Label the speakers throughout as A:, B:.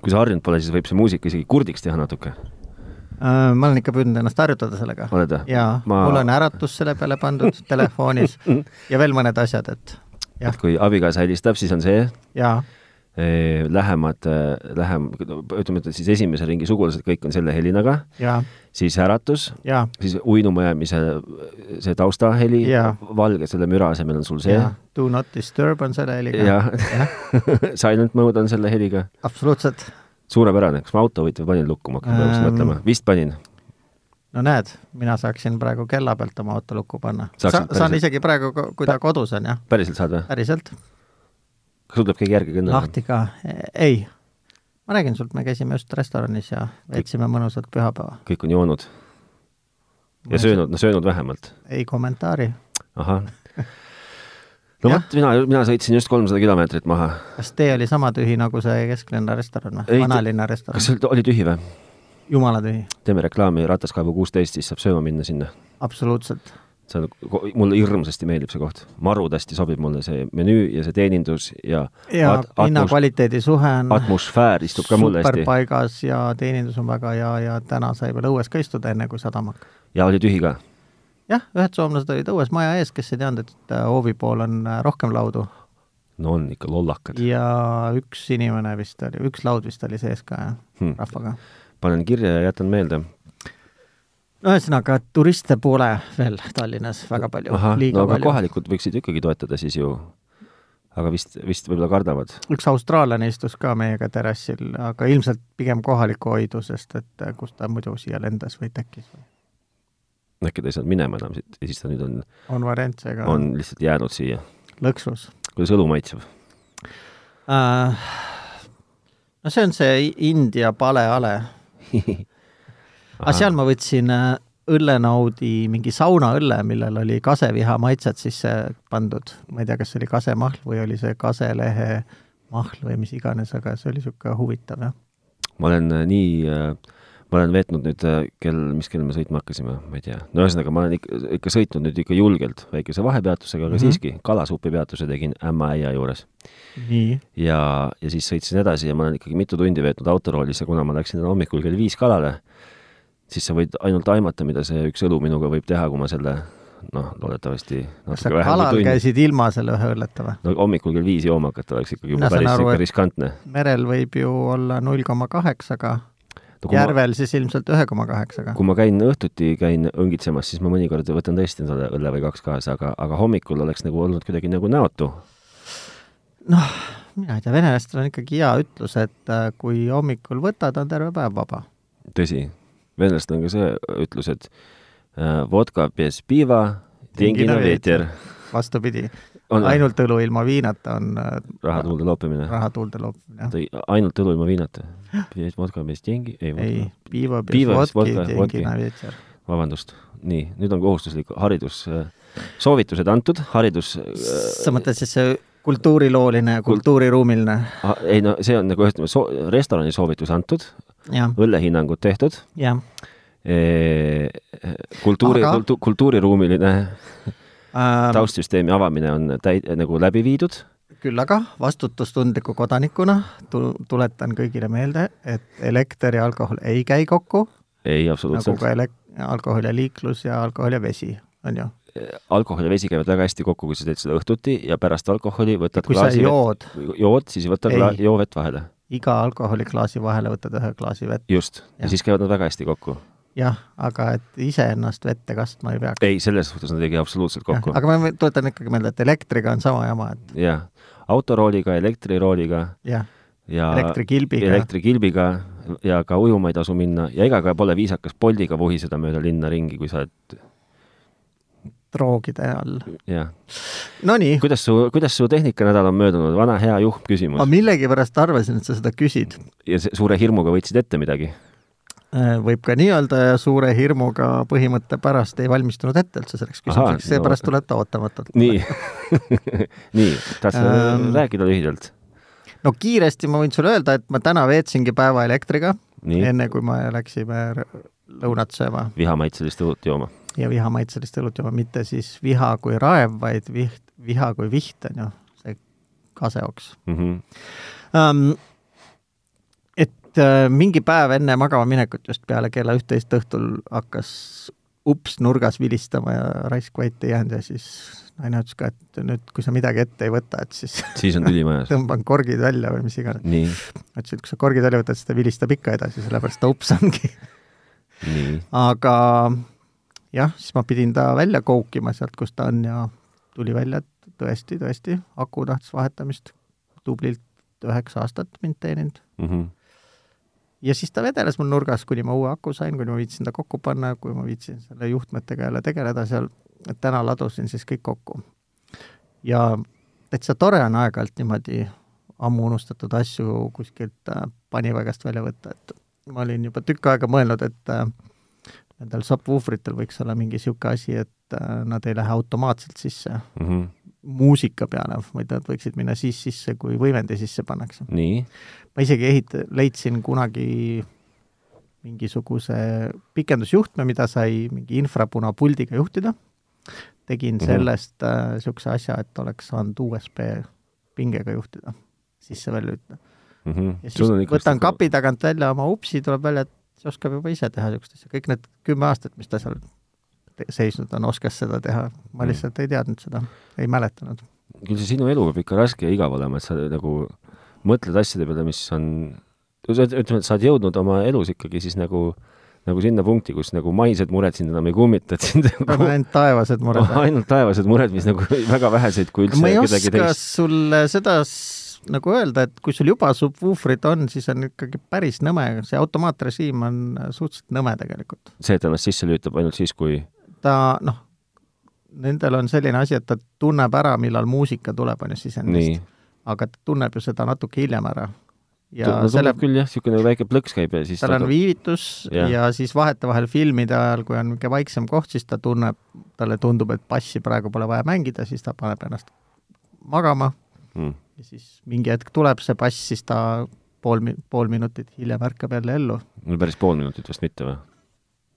A: kui sa harjunud pole, siis võib see muusika isegi kurdiks teha natuke.
B: Äh, ma olen ikka püüdnud ennast harjutada sellega.
A: Oled või?
B: jaa
A: Ma-
B: ma... , mul on äratus selle peale pandud telefonis ja veel mõned asjad , et jah
A: et , kui abikaasa helistab , siis on see
B: jaa ,
A: eh, lähemad , lähem , ütleme , et siis esimese ringi sugulased kõik on selle helinaga ,
B: jaa ,
A: siis äratus ,
B: jaa ,
A: siis uinuma jäämise see taustaheli
B: Jaa. ,
A: valge selle müra asemel on sul see
B: jaa . Do not disturb on selle heliga .
A: jah , silent mode on selle heliga ,
B: absoluutselt .
A: suurepärane , kas ma autojuhid panin lukkuma , hakkan praegu
B: Ähm.
A: mõtlema , vist panin .
B: no näed , mina saaksin praegu kella pealt oma auto lukku panna . Sa,
A: Saaksid
B: saan
A: päriselt?
B: isegi praegu , kui ta kodus on jah ,
A: päriselt saad või ?
B: päriselt ,
A: kas sul tuleb keegi järgi kõndama ?
B: Äh. lahti ka , ei . ma räägin sult , me käisime just restoranis ja veetsime mõnusat pühapäeva .
A: kõik on joonud ja söönud , no söönud vähemalt .
B: ei kommentaari .
A: ahah . no
B: Jah.
A: vot , mina , mina sõitsin just kolmsada kilomeetrit maha .
B: kas tee oli sama tühi nagu see kesklinna restoran
A: Ei,
B: või ? vanalinna restoran
A: kas . see oli tühi või ?
B: jumala tühi ,
A: teeme reklaami Rataskaevu kuusteist , siis saab sööma minna sinna .
B: absoluutselt .
A: see on , mulle hirmsasti meeldib see koht . marud hästi sobib mulle see menüü ja see teenindus ja,
B: ja
A: at- atmos-
B: hinna-kvaliteedi suhe on
A: atmosfäär istub ka mulle
B: super
A: hästi .
B: paigas ja teenindus on väga hea ja täna sai veel õues ka istuda , enne kui sadama hakkas .
A: ja oli tühi ka .
B: jah , ühed soomlased olid õues maja ees , kes ei teadnud , et äh, hoovi pool on äh, rohkem laudu
A: no on ikka lollakad .
B: ja üks inimene vist oli , üks laud vist oli sees ka jah
A: Hmm.
B: hmm. , rahvaga .
A: panen kirja ja jätan meelde .
B: no ühesõnaga , turiste pole veel Tallinnas väga palju ,
A: ahah ,
B: liiga
A: no aga
B: palju .
A: kohalikud võiksid ikkagi toetada siis ju . aga vist , vist võib-olla kardavad .
B: üks austraallane istus ka meiega terrassil , aga ilmselt pigem kohaliku hoidu , sest et äh, kus ta muidu siia lendas või tekkis või
A: äkki ta ei saanud minema enam siit ja siis ta nüüd on ,
B: on variant seega
A: on lihtsalt jäänud siia .
B: lõksus
A: kuidas õlu maitseb ?
B: äh, . no see on see I- India paleale , aga seal ma võtsin äh, õllenaudi mingi saunaõlle , millel oli kaseviha maitset sisse pandud . ma ei tea , kas see oli kasemahl või oli see kaselehe mahl või mis iganes , aga see oli niisugune huvitav jah .
A: ma olen äh, nii , ma olen veetnud nüüd äh, kell , mis kell me sõitma hakkasime , ma ei tea . no ühesõnaga , ma olen ikka , ikka sõitnud nüüd ikka julgelt väikese vahepeatusega , aga mm
B: Mhm.
A: -hmm. siiski kalasupi peatuse tegin ämma äia juures .
B: nii ,
A: ja , ja siis sõitsin edasi ja ma olen ikkagi mitu tundi veetnud autoroolis ja kuna ma läksin täna hommikul kell viis kalale , siis sa võid ainult aimata , mida see üks õlu minuga võib teha , kui ma selle noh , loodetavasti
B: kas sa
A: natuke vähem
B: kalal
A: kui tunni .
B: käisid ilma selle ühe õlleta või ?
A: no hommikul kell viis jooma hakata oleks ikkagi juba
B: Mina saan
A: päris
B: aru,
A: ikka
B: et-
A: riskantne .
B: merel võib ju olla null koma kaheksaga ,
A: no kui ma ,
B: järvel siis ilmselt ühe koma kaheksaga .
A: kui ma käin õhtuti , käin õngitsemas , siis ma mõnikord võtan tõesti endale õlle või kaks kaasa , aga , aga hommikul oleks nagu olnud kuidagi nagu näotu .
B: noh , mina ei tea , venelastel on ikkagi hea ütlus , et äh, kui hommikul võtad , on terve päev vaba .
A: tõsi , venelastel on ka see ütlus , et äh, vodka bez piva , tingina
B: Tingina veeter.
A: veeter .
B: vastupidi ,
A: on või?
B: ainult õlu ilma viinata on äh,
A: raha tuulde loopimine .
B: raha tuulde loopimine .
A: tõi ainult õlu ilma viinata . Piies vodka , mees tingi , ei
B: ei
A: vodka ,,
B: piiva
A: Piiva,
B: peab vodki
A: vodka, vodki.
B: tingina veetser .
A: vabandust . nii , nüüd on kohustuslik haridus , soovitused antud , haridus , äh,
B: sa mõtled siis see kultuurilooline ja kultuuriruumiline ,
A: ei no see on nagu ütleme so, , restorani soovitus antud ,
B: jah ,
A: õllehinnangud tehtud ,
B: jah .
A: kultuuri
B: Aga-
A: kultu, , kultuuriruumiline taustsüsteemi avamine on täi- , nagu läbi viidud ,
B: küll aga vastutustundliku kodanikuna tu- tuletan kõigile meelde , et elekter ja alkohol ei käi kokku ,
A: ei
B: nagu
A: absoluutselt
B: ka . elek- , alkohol ja liiklus ja alkohol ja vesi , on ju .
A: alkohol ja vesi käivad väga hästi kokku , kui sa teed seda õhtuti ja pärast alkoholi võtad
B: kui sa jood ,
A: jood , siis võta
B: Ei.
A: kla- , joo vett vahele ,
B: iga alkoholiklaasi vahele võtad ühe klaasi vett ,
A: just . ja
B: Jah.
A: siis käivad nad väga hästi kokku
B: jah , aga et iseennast vette kastma ei peaks .
A: ei , selles suhtes nad ei käi absoluutselt kokku .
B: aga ma tuletan ikkagi meelde , et elektriga on sama jama , et
A: jah , autorooliga , elektrirooliga
B: jah ,
A: ja
B: Elektrikilbiga.
A: elektrikilbiga ja ka ujuma ei tasu minna ja ega ka pole viisakas Boltiga vuhiseda mööda linna ringi , kui sa oled ,
B: droogide all .
A: jah .
B: Nonii ,
A: kuidas su , kuidas su tehnikanädal on möödunud , vana hea juhm
B: ma
A: küsimus
B: millegipärast arvasin , et sa seda küsid .
A: ja se- suure hirmuga võtsid ette midagi .
B: Äh, võib ka nii öelda ja suure hirmuga põhimõtte pärast ei valmistunud ette üldse selleks
A: Ahaa,
B: küsimuseks , seepärast
A: no-
B: tuleb ta ootamatult .
A: nii , nii , tahtsid
B: Ähm.
A: rääkida lühidalt ,
B: no kiiresti ma võin sulle öelda , et ma täna veetsingi päeva elektriga ,
A: nii ,
B: enne kui me läksime r- lõunat sööma
A: vihamaitselist õlut jooma .
B: ja vihamaitselist õlut jooma , mitte siis viha kui raev , vaid viht , viha kui viht
A: Mhm.
B: on ju , see kaseoks
A: Mm -hmm.
B: um, . Ähm, et et äh, mingi päev enne magama minekut just peale kella üht-teist õhtul hakkas ups nurgas vilistama ja raisk vait ei jäänud ja siis naine ütles ka, et nüüd, kui sa midagi ette ei võta, et siis
A: siis on tüli majas.
B: tõmban korgid välja või mis iganes.
A: nii,
B: ma ütlesin, et kui sa korgid välja võtad, siis ta vilistab ikka edasi, sellepärast ta ups ongi
A: nii.
B: aga jah , siis ma pidin ta välja koukima sealt , kus ta on ja tuli välja , et tõesti , tõesti , aku tahtis vahetamist . tublilt üheksa aastat mind teeninud
A: Mm -hmm.
B: ja siis ta vedeles mul nurgas , kuni ma uue aku sain , kuni ma viitsin ta kokku panna , kui ma viitsin selle juhtmetega jälle tegeleda seal , et täna ladusin siis kõik kokku . ja täitsa tore on aeg-ajalt niimoodi ammu unustatud asju kuskilt äh, panivägast välja võtta , et ma olin juba tükk aega mõelnud , et äh, nendel subwoofritel võiks olla mingi niisugune asi , et äh, nad ei lähe automaatselt sisse
A: Mm -hmm.
B: muusika peale , vaid nad võiksid minna siis sisse , kui võimendi sisse pannakse .
A: nii ,
B: ma isegi ehit- , leidsin kunagi mingisuguse pikendusjuhtme , mida sai mingi infrapunapuldiga juhtida . tegin
A: Mhm.
B: sellest niisuguse äh, siukse asja , et oleks saanud USB pingega juhtida , sisse-välja lülitada .
A: mm -hmm.
B: ja siis võtan . kapi tagant välja oma upsi , tuleb välja , et see oskab juba ise teha niisugust asja , kõik need kümme aastat , mis ta seal te- seisnud on , oskas seda teha . ma
A: Mhm.
B: lihtsalt ei teadnud seda , ei mäletanud .
A: küll see sinu elu peab ikka raske ja igav olema , et sa nagu mõtled asjade peale , mis on , ütleme , et sa oled jõudnud oma elus ikkagi siis nagu , nagu sinna punkti , kus nagu maised mured sind enam ei kummita , et sind nagu
B: ainult taevased mured .
A: ainult taevased mured , mis nagu väga väheseid , kui üldse
B: ma ei
A: kedagi
B: oska
A: teist .
B: sulle seda s- nagu öelda , et kui sul juba subwoofrid on , siis on ikkagi päris nõme , see automaatrežiim on suhteliselt nõme tegelikult .
A: see , et ennast sisse lülitab ainult siis , kui
B: ta noh , nendel on selline asi , et ta tunneb ära , millal muusika tuleb , on ju
A: nii
B: sisendist ,. aga ta tunneb ju seda natuke hiljem ära . ja
A: no
B: selle
A: tuleb , küll jah , niisugune nagu väike plõks käib ja siis
B: tal on
A: hakkab-
B: viivitus ja,
A: Jah.
B: ja siis vahetevahel filmide ajal , kui on mingi vaiksem koht , siis ta tunneb , talle tundub , et bassi praegu pole vaja mängida , siis ta paneb ennast magama
A: mm.
B: ja siis mingi hetk tuleb see pass , siis ta pool , pool minutit hiljem ärkab jälle ellu .
A: no päris pool minutit vist mitte või ?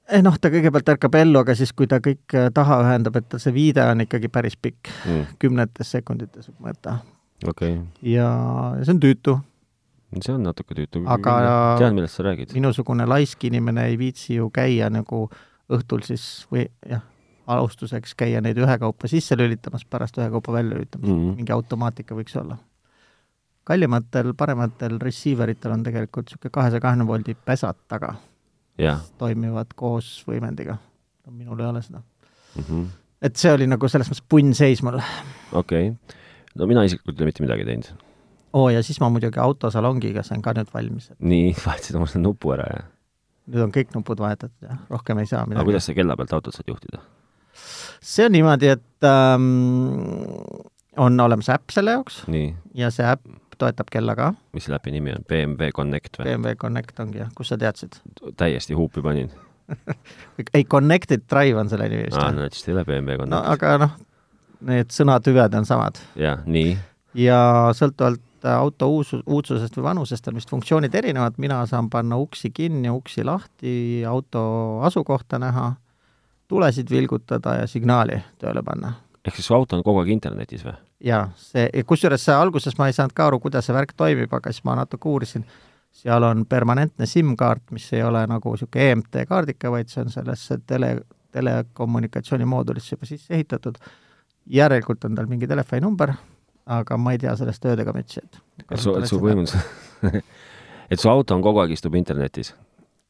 B: ei noh , ta kõigepealt ärkab ellu , aga siis , kui ta kõik äh, taha ühendab , et see viide on ikkagi päris pikk ,
A: Mm.
B: kümnetes sekundites võib mõõta .
A: okei okay. ,
B: ja ja see on tüütu .
A: see on natuke tüütu .
B: Aga-
A: tean , millest sa räägid .
B: minusugune laisk inimene ei viitsi ju käia nagu õhtul siis või jah , alustuseks käia neid ühekaupa sisse lülitamas , pärast ühekaupa välja lülitamas mm .
A: Mhm.
B: -hmm. mingi automaatika võiks olla . kallimatel , parematel receiver itel on tegelikult niisugune kahesaja kahekümne voldi pesad taga
A: jah
B: toimivad koos võimendiga . no minul ei ole seda .
A: mm -hmm.
B: et see oli nagu selles mõttes punn seis mul .
A: okei okay. , no mina isiklikult ei ole mitte midagi teinud .
B: oo , ja siis ma muidugi autosalongiga sain ka nüüd valmis , et
A: nii , vahetasid oma selle nupu ära ja ,
B: nüüd on kõik nupud vahetatud ja rohkem ei saa
A: aga
B: midagi .
A: kuidas sa kella pealt autot saad juhtida ?
B: see on niimoodi , et ähm, on olemas äpp selle jaoks
A: nii ,
B: ja see äpp toetab kella ka ,
A: mis selle äpi nimi on , BMW Connect või ?
B: BMW Connect ongi jah , kus sa teadsid ?
A: täiesti huupi panin .
B: ei , Connected Drive on selle nimi vist
A: aa , Ah,
B: või ?
A: no siis ei ole BMW
B: no
A: Connect .
B: aga noh , need sõnatüved on samad
A: jaa , nii ,
B: ja sõltuvalt äh, auto uus , uudsusest või vanusest on vist funktsioonid erinevad , mina saan panna uksi kinni , uksi lahti , auto asukohta näha , tulesid vilgutada ja signaali tööle panna .
A: ehk siis su auto on kogu aeg internetis või ?
B: ja see , kusjuures see alguses ma ei saanud ka aru , kuidas see värk toimib , aga siis ma natuke uurisin , seal on permanentne SIM-kaart , mis ei ole nagu niisugune EMT kaardike , vaid see on sellesse tele , telekommunikatsioonimoodulisse juba sisse ehitatud , järelikult on tal mingi telefoninumber , aga ma ei tea sellest tööd ega mütsi , et
A: et su , et su põhimõtteliselt , et su auto on kogu aeg istub internetis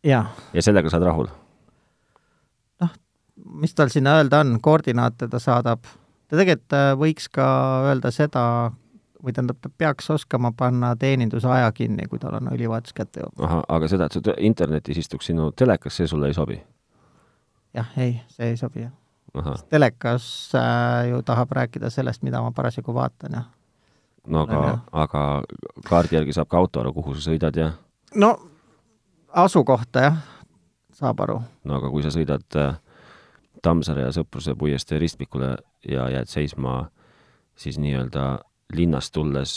B: jaa ,
A: ja sellega sa oled rahul ?
B: mis tal sinna öelda on , koordinaate ta saadab , ta tegelikult äh, võiks ka öelda seda , või tähendab , ta peaks oskama panna teeninduse aja kinni , kui tal on õlivahetus kätte jõudnud .
A: ahah , aga seda , et sa tõ- internetis istuks sinu telekas , see sulle ei sobi ?
B: jah , ei , see ei sobi , jah .
A: ahah ,
B: telekas äh, ju tahab rääkida sellest , mida ma parasjagu vaatan ja
A: no aga
B: Olen ,
A: aga kaardi järgi saab ka auto aru , kuhu sa sõidad ja
B: no asukohta , jah , saab aru .
A: no aga kui sa sõidad äh, Tammsaare ja Sõpruse puiestee ristmikule ja jääd seisma siis nii-öelda linnast tulles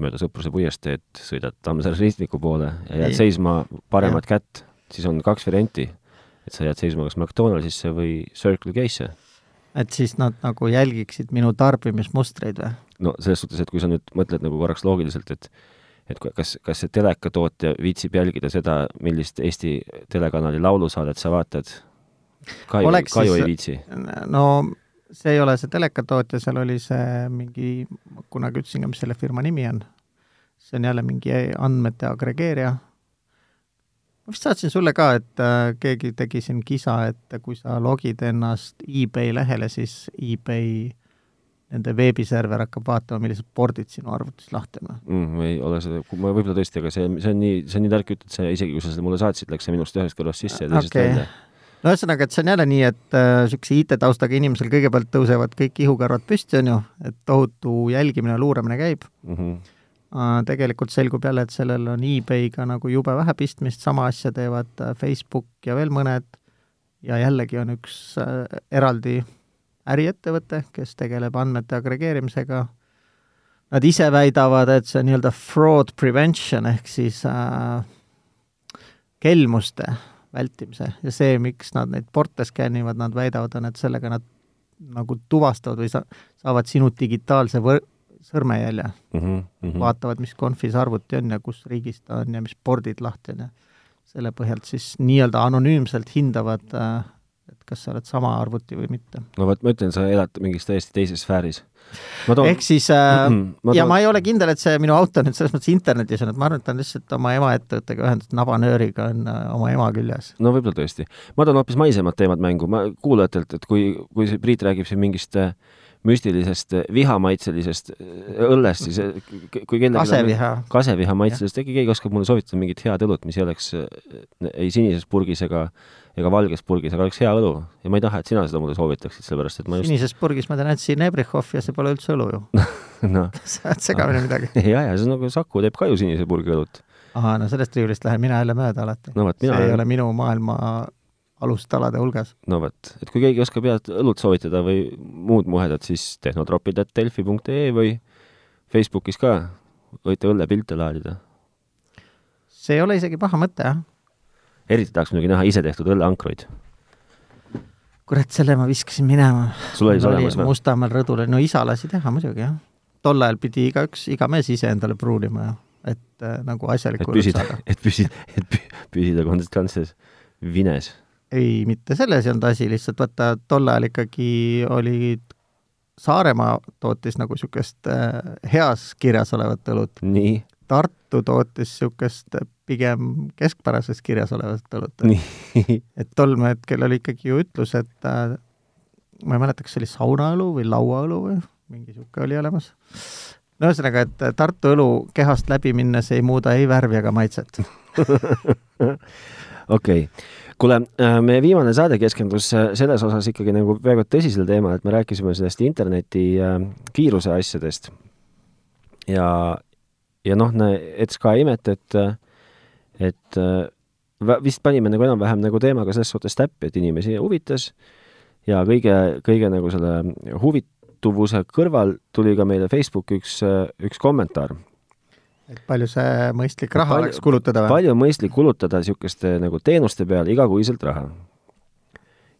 A: mööda Sõpruse puiesteed , sõidad Tammsaare ristmiku poole ja jääd
B: Ei.
A: ei. seisma paremat ja. kätt , siis on kaks varianti , et sa jääd seisma kas McDonaldsisse või Circle K-sse .
B: et siis nad nagu jälgiksid minu tarbimismustreid või ?
A: no selles suhtes , et kui sa nüüd mõtled nagu korraks loogiliselt , et et ku- kas , kas see telekatootja viitsib jälgida seda , millist Eesti telekanali laulusaadet sa vaatad ? ka ju
B: Oleks ,
A: ka ju
B: siis-
A: ei viitsi .
B: no see ei ole see telekatootja , seal oli see mingi , ma kunagi ütlesin ka , mis selle firma nimi on . see on jälle mingi andmete agregeerija . ma vist saatsin sulle ka , et äh, keegi tegi siin kisa , et kui sa logid ennast eBay lehele , siis eBay nende veebiserver hakkab vaatama , millised pordid sinu arvutis lahti on .
A: mm, . ma ei ole seda , ma võib-olla tõesti , aga see , see on nii , see on nii tark jutt , et see isegi , kui sa seda mulle saatsid , läks see minust ühest kõrvast sisse ja teisest
B: Okei.
A: okay. välja .
B: no ühesõnaga , et see on jälle nii , et niisuguse IT-taustaga inimesel kõigepealt tõusevad kõik ihukarvad püsti , on ju , et tohutu jälgimine , luuramine käib .
A: Mm -hmm.
B: Äh, tegelikult selgub jälle , et sellel on e-Bayga nagu jube vähe pistmist , sama asja teevad äh, Facebook ja veel mõned ja jällegi on üks äh, eraldi äriettevõte , kes tegeleb andmete agregeerimisega . Nad ise väidavad , et see on nii-öelda fraud prevention ehk siis äh, kelmuste vältimise ja see , miks nad neid porte skännivad , nad väidavad , on , et sellega nad nagu tuvastavad või sa- , saavad sinu digitaalse võr- , sõrmejälje
A: Mm -hmm. Mm -hmm.
B: vaatavad , mis konfis arvuti on ja kus riigis ta on ja mis pordid lahti on ja selle põhjalt siis nii-öelda anonüümselt hindavad , et kas sa oled sama arvuti või mitte .
A: no vot , ma ütlen , sa elad mingis täiesti teises sfääris . ma toon
B: ehk siis äh,
A: Mhm, ma
B: ja
A: toon-
B: ma ei ole kindel , et see minu auto nüüd selles mõttes internetis on , et ma arvan , et ta on lihtsalt oma ema ettevõttega ühendatud nabanööriga on äh, oma ema küljes .
A: no võib-olla tõesti . ma toon hoopis maisemad teemad mängu , ma kuulajatelt , et kui , kui see Priit räägib siin mingist äh, müstilisest äh, vihamaitselisest äh, õllest , siis äh, k- kui kellelgi
B: kaseviha ,
A: kaseviha maitselisest , äkki keegi oskab mulle soovitada mingit head õlut , mis ei oleks äh, ei sinises purgis ega , ega valges purgis , aga oleks hea õlu . ja ma ei taha , et sina seda mulle soovitaksid , sellepärast et ma just ,
B: sinises purgis ma tean , et siin Ebrichov ja see pole üldse õlu ju .
A: noh ,
B: sa oled segamini midagi .
A: ja , ja see on nagu Saku teeb ka ju sinise purgi õlut .
B: ahah , no sellest riiulist lähen mina jälle mööda alati .
A: no vot ,
B: see ei
A: mina ,
B: ole minu maailma alustalade hulgas .
A: no vot , et kui keegi oskab head õlut soovitada või muud muhedat , siis tehnotropid.delfi.ee või Facebookis ka võite õllepilte laadida .
B: see ei ole isegi paha mõte , jah .
A: eriti tahaks muidugi näha isetehtud õlleankruid .
B: kurat , selle ma viskasin minema .
A: sul oli see olemas või ?
B: Mustamäel rõdul , no isa lasi teha muidugi jah . tol ajal pidi igaüks , iga mees ise endale pruulima ja et äh, nagu
A: et
B: asjalikku õlut
A: püsida
B: saada .,
A: et püsida , et pü- püsida konstantses vines
B: ei , mitte selles ei olnud asi , lihtsalt vaata tol ajal ikkagi oli , Saaremaa tootis nagu niisugust äh, heas kirjas olevat õlut ,
A: nii ,
B: Tartu tootis niisugust pigem keskpärases kirjas olevat õlut .
A: nii ,
B: et tol hetkel oli ikkagi ju ütlus , et äh, ma ei mäleta , kas see oli saunaõlu või lauaõlu või mingi niisugune oli olemas . no ühesõnaga , et äh, Tartu õlu kehast läbi minnes ei muuda ei värvi ega maitset .
A: okei okay. . kuule , meie viimane saade keskendus äh, selles osas ikkagi nagu peaaegu et tõsisel teemal , et me rääkisime sellest interneti äh, kiiruse asjadest . ja , ja noh , et ka ei imeta , et , et äh, vä- vist panime nagu enam-vähem nagu teemaga selles suhtes täppi , et inimesi huvitas ja kõige , kõige nagu selle huvituvuse kõrval tuli ka meile Facebooki üks , üks kommentaar
B: et palju see mõistlik raha
A: Palju-
B: palju, oleks kulutada või ?
A: palju on mõistlik kulutada niisuguste nagu teenuste peale igakuiselt raha ?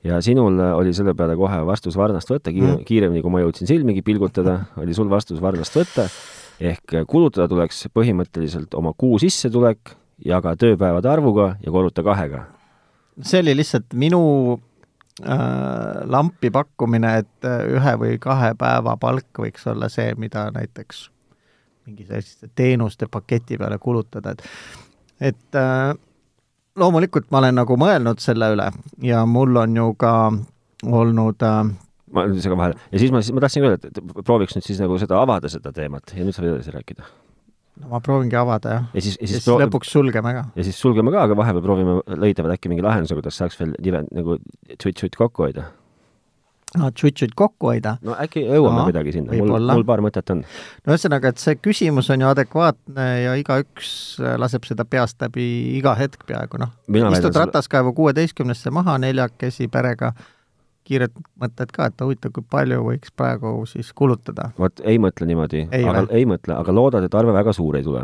A: ja sinul oli selle peale kohe vastus varnast võtta ,
B: Mm.
A: kiiremini kui ma jõudsin silmigi pilgutada , oli sul vastus varnast võtta . ehk eh, kulutada tuleks põhimõtteliselt oma kuu sissetulek , jaga tööpäevade arvuga ja korruta kahega .
B: see oli lihtsalt minu äh, lampi pakkumine , et äh, ühe või kahe päeva palk võiks olla see , mida näiteks mingi selliste teenuste paketi peale kulutada , et et äh, loomulikult ma olen nagu mõelnud selle üle ja mul on ju ka olnud äh,
A: ma nüüd segan vahele ja siis ma , siis ma tahtsin öelda , et et prooviks nüüd siis nagu seda avada , seda teemat ja nüüd saab edasi rääkida .
B: no ma proovingi avada jah ,
A: ja siis , ja
B: ja
A: siis
B: siis
A: proo-
B: lõpuks sulgeme ka .
A: ja siis sulgeme ka , aga vahepeal proovime leida veel äkki mingi lahenduse , kuidas saaks veel nive- nagu tšutt-tšutt kokku hoida .
B: tšutšut kokku hoida .
A: no äkki jõuame
B: Aa,
A: kuidagi sinna , mul ,
B: võib-olla.
A: mul paar mõtet on .
B: no ühesõnaga , et see küsimus on ju adekvaatne ja igaüks äh, laseb seda peast läbi iga hetk peaaegu , noh .
A: Mina väidan
B: istud
A: selle-
B: rataskaevu kuueteistkümnesse maha neljakesi perega , kiired mõtted ka , et huvitav , kui palju võiks praegu siis kulutada .
A: vot ei mõtle niimoodi ,
B: Ei
A: aga
B: vä?
A: ei mõtle , aga loodad , et arve väga suur ei tule .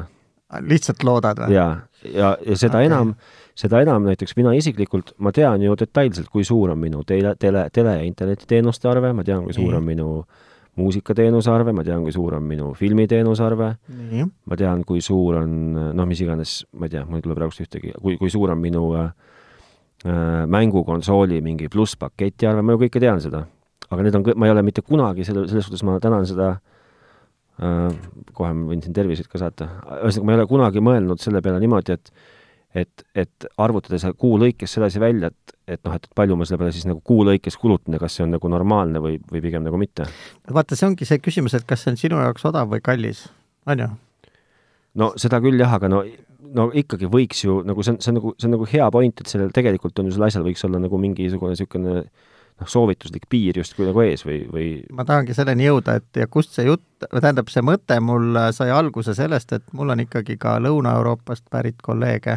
B: lihtsalt loodad või ?
A: ja , ja , ja seda okay.
B: Äh. Okei.
A: enam , seda enam näiteks mina isiklikult , ma tean ju detailselt , kui suur on minu tele , tele , tele ja internetiteenuste arve , ma tean , kui suur
B: Nii.
A: on minu muusikateenuse arve , ma tean , kui suur on minu filmiteenuse arve ,
B: nii ,
A: ma tean , kui suur on noh , mis iganes , ma ei tea , mul ei tule praegust ühtegi , kui , kui suur on minu äh, äh, mängukonsooli mingi plusspaketi arve , ma ju kõike tean seda . aga need on , ma ei ole mitte kunagi selle , selles suhtes ma tänan seda äh, , kohe ma võin siin terviseid ka saata , ühesõnaga ma ei ole kunagi mõelnud selle peale niimoodi , et et , et arvutada see kuu lõikes sedasi välja , et , et noh , et palju ma selle peale siis nagu kuu lõikes kulutan ja kas see on nagu normaalne või , või pigem nagu mitte .
B: vaata , see ongi see küsimus , et kas see on sinu jaoks odav või kallis , on ju ?
A: no seda küll jah , aga no , no ikkagi võiks ju nagu see on , see on nagu , see on nagu hea point , et sellel tegelikult on ju sellel asjal võiks olla nagu mingisugune niisugune noh , soovituslik piir justkui nagu ees või , või
B: ma tahangi selleni jõuda , et ja kust see jutt , või tähendab , see mõte mul sai alguse sellest , et mul on ikkagi ka Lõuna-Euroopast pärit kolleege ,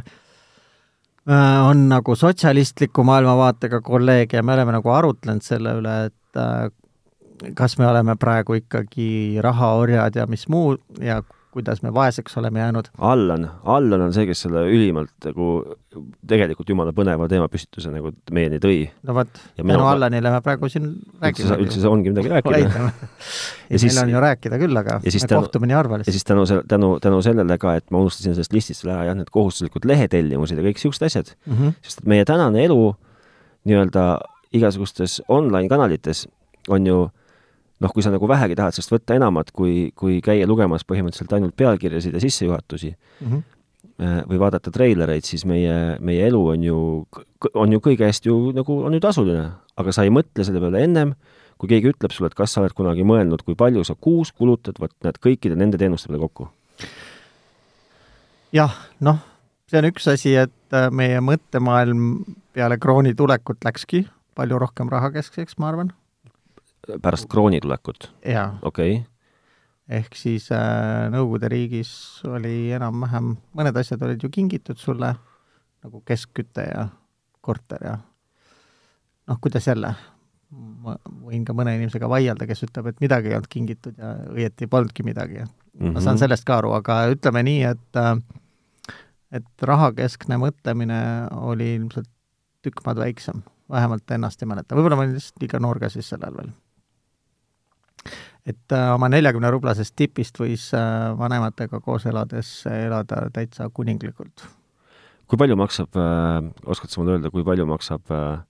B: on nagu sotsialistliku maailmavaatega kolleege ja me oleme nagu arutlenud selle üle , et äh, kas me oleme praegu ikkagi rahaorjad ja mis muu ja kuidas me vaeseks oleme jäänud .
A: Allan , Allan on see , kes selle ülimalt nagu tegelikult jumala põneva teemapüstituse nagu meieni tõi .
B: no vot ,
A: Ja mina
B: tänu
A: ka-
B: Allanile me praegu siin
A: üldse ,
B: räägime .
A: üldse ongi midagi rääkida . Ja
B: ja
A: siis-
B: meil on ju rääkida küll , aga
A: ja siis
B: me
A: tänu-
B: kohtume nii harva
A: ja
B: lihtsalt .
A: siis tänu , tänu , tänu sellele ka , et ma unustasin sellest listist selle ära , jah , need kohustuslikud lehetellimused ja kõik siuksed asjad ,
B: Mhm,
A: sest et meie tänane elu nii-öelda igasugustes online-kanalites on ju noh , kui sa nagu vähegi tahad sellest võtta enamat , kui , kui käia lugemas põhimõtteliselt ainult pealkirjasid ja sissejuhatusi
B: mhm.
A: eh, või vaadata treilereid , siis meie , meie elu on ju , on ju kõige eest ju nagu on ju tasuline , aga sa ei mõtle selle peale ennem , kui keegi ütleb sulle , et kas sa oled kunagi mõelnud , kui palju sa kuus kulutad , vot näed kõikide nende teenuste peale kokku .
B: jah , noh , see on üks asi , et äh, meie mõttemaailm peale krooni tulekut läkski palju rohkem rahakeskseks , ma arvan ,
A: pärast krooni tulekut ,
B: jaa .
A: okei okay. ,
B: ehk siis äh, Nõukogude riigis oli enam-vähem , mõned asjad olid ju kingitud sulle , nagu keskküte ja korter ja noh , kuidas jälle , ma võin ka mõne inimesega vaielda , kes ütleb , et midagi ei olnud kingitud ja õieti polnudki midagi .
A: Mhm.
B: ma saan sellest ka aru , aga ütleme nii , et äh, et rahakeskne mõtlemine oli ilmselt tükk maad väiksem , vähemalt ennast ei mäleta , võib-olla ma olin lihtsalt liiga noor ka siis sel ajal veel . et äh, oma neljakümne rublasest tipist võis äh, vanematega koos elades elada täitsa kuninglikult .
A: kui palju maksab äh, , oskad sa mulle öelda , kui palju maksab äh,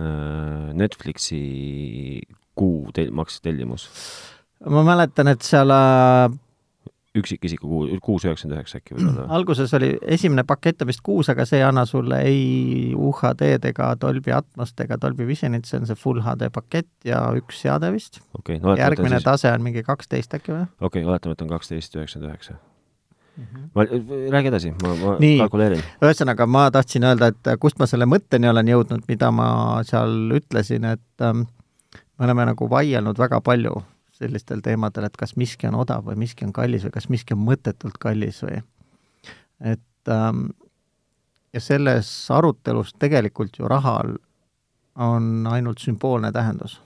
A: äh, Netflixi kuu tel- , maksetellimus ,
B: ma mäletan , et seal äh,
A: üksikisiku kuu , kuus üheksakümmend üheksa äkki võib-olla või ?
B: alguses oli esimene pakett on vist kuus , aga see ei anna sulle ei UHD-d ega Dolby Atmost ega Dolby Visionit , see on see full HD pakett ja üks seade vist .
A: okei , no oletame ,
B: Mm-hmm.
A: et on
B: järgmine
A: siis ,
B: tase on mingi kaksteist äkki või ?
A: okei , oletame , et on kaksteist üheksakümmend üheksa . ma , räägi edasi , ma , ma
B: Mhm. Nii.
A: kalkuleerin .
B: ühesõnaga , ma tahtsin öelda , et äh, kust ma selle mõtteni olen jõudnud , mida ma seal ütlesin , et ähm, me oleme nagu vaielnud väga palju sellistel teemadel , et kas miski on odav või miski on kallis või kas miski on mõttetult kallis või et ähm, ja selles arutelus tegelikult ju rahal on ainult sümboolne tähendus .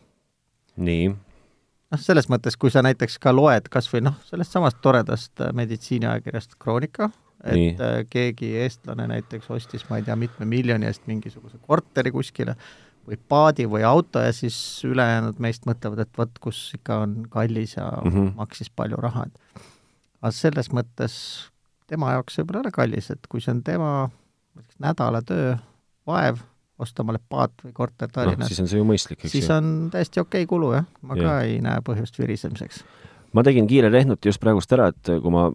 A: nii ,
B: noh , selles mõttes , kui sa näiteks ka loed kas või noh , sellest samast toredast äh, meditsiiniajakirjast Kroonika , et
A: Nii.
B: äh, keegi eestlane näiteks ostis , ma ei tea , mitme miljoni eest mingisuguse korteri kuskile või paadi või auto ja siis ülejäänud meist mõtlevad , et vot kus ikka on kallis ja mm
A: Mhm.
B: -hmm. maksis palju raha , et aga selles mõttes tema jaoks võib-olla ei ole kallis , et kui see on tema näiteks nädala töö vaev , osta omale paat või korter
A: noh ,
B: Tallinnas ,
A: siis on see ju mõistlik , eks
B: siis
A: ju .
B: on täiesti okei okay kulu , jah . ma
A: Jah.
B: ka ei näe põhjust virisemiseks .
A: ma tegin kiire rehnuti just praegust ära , et kui ma ,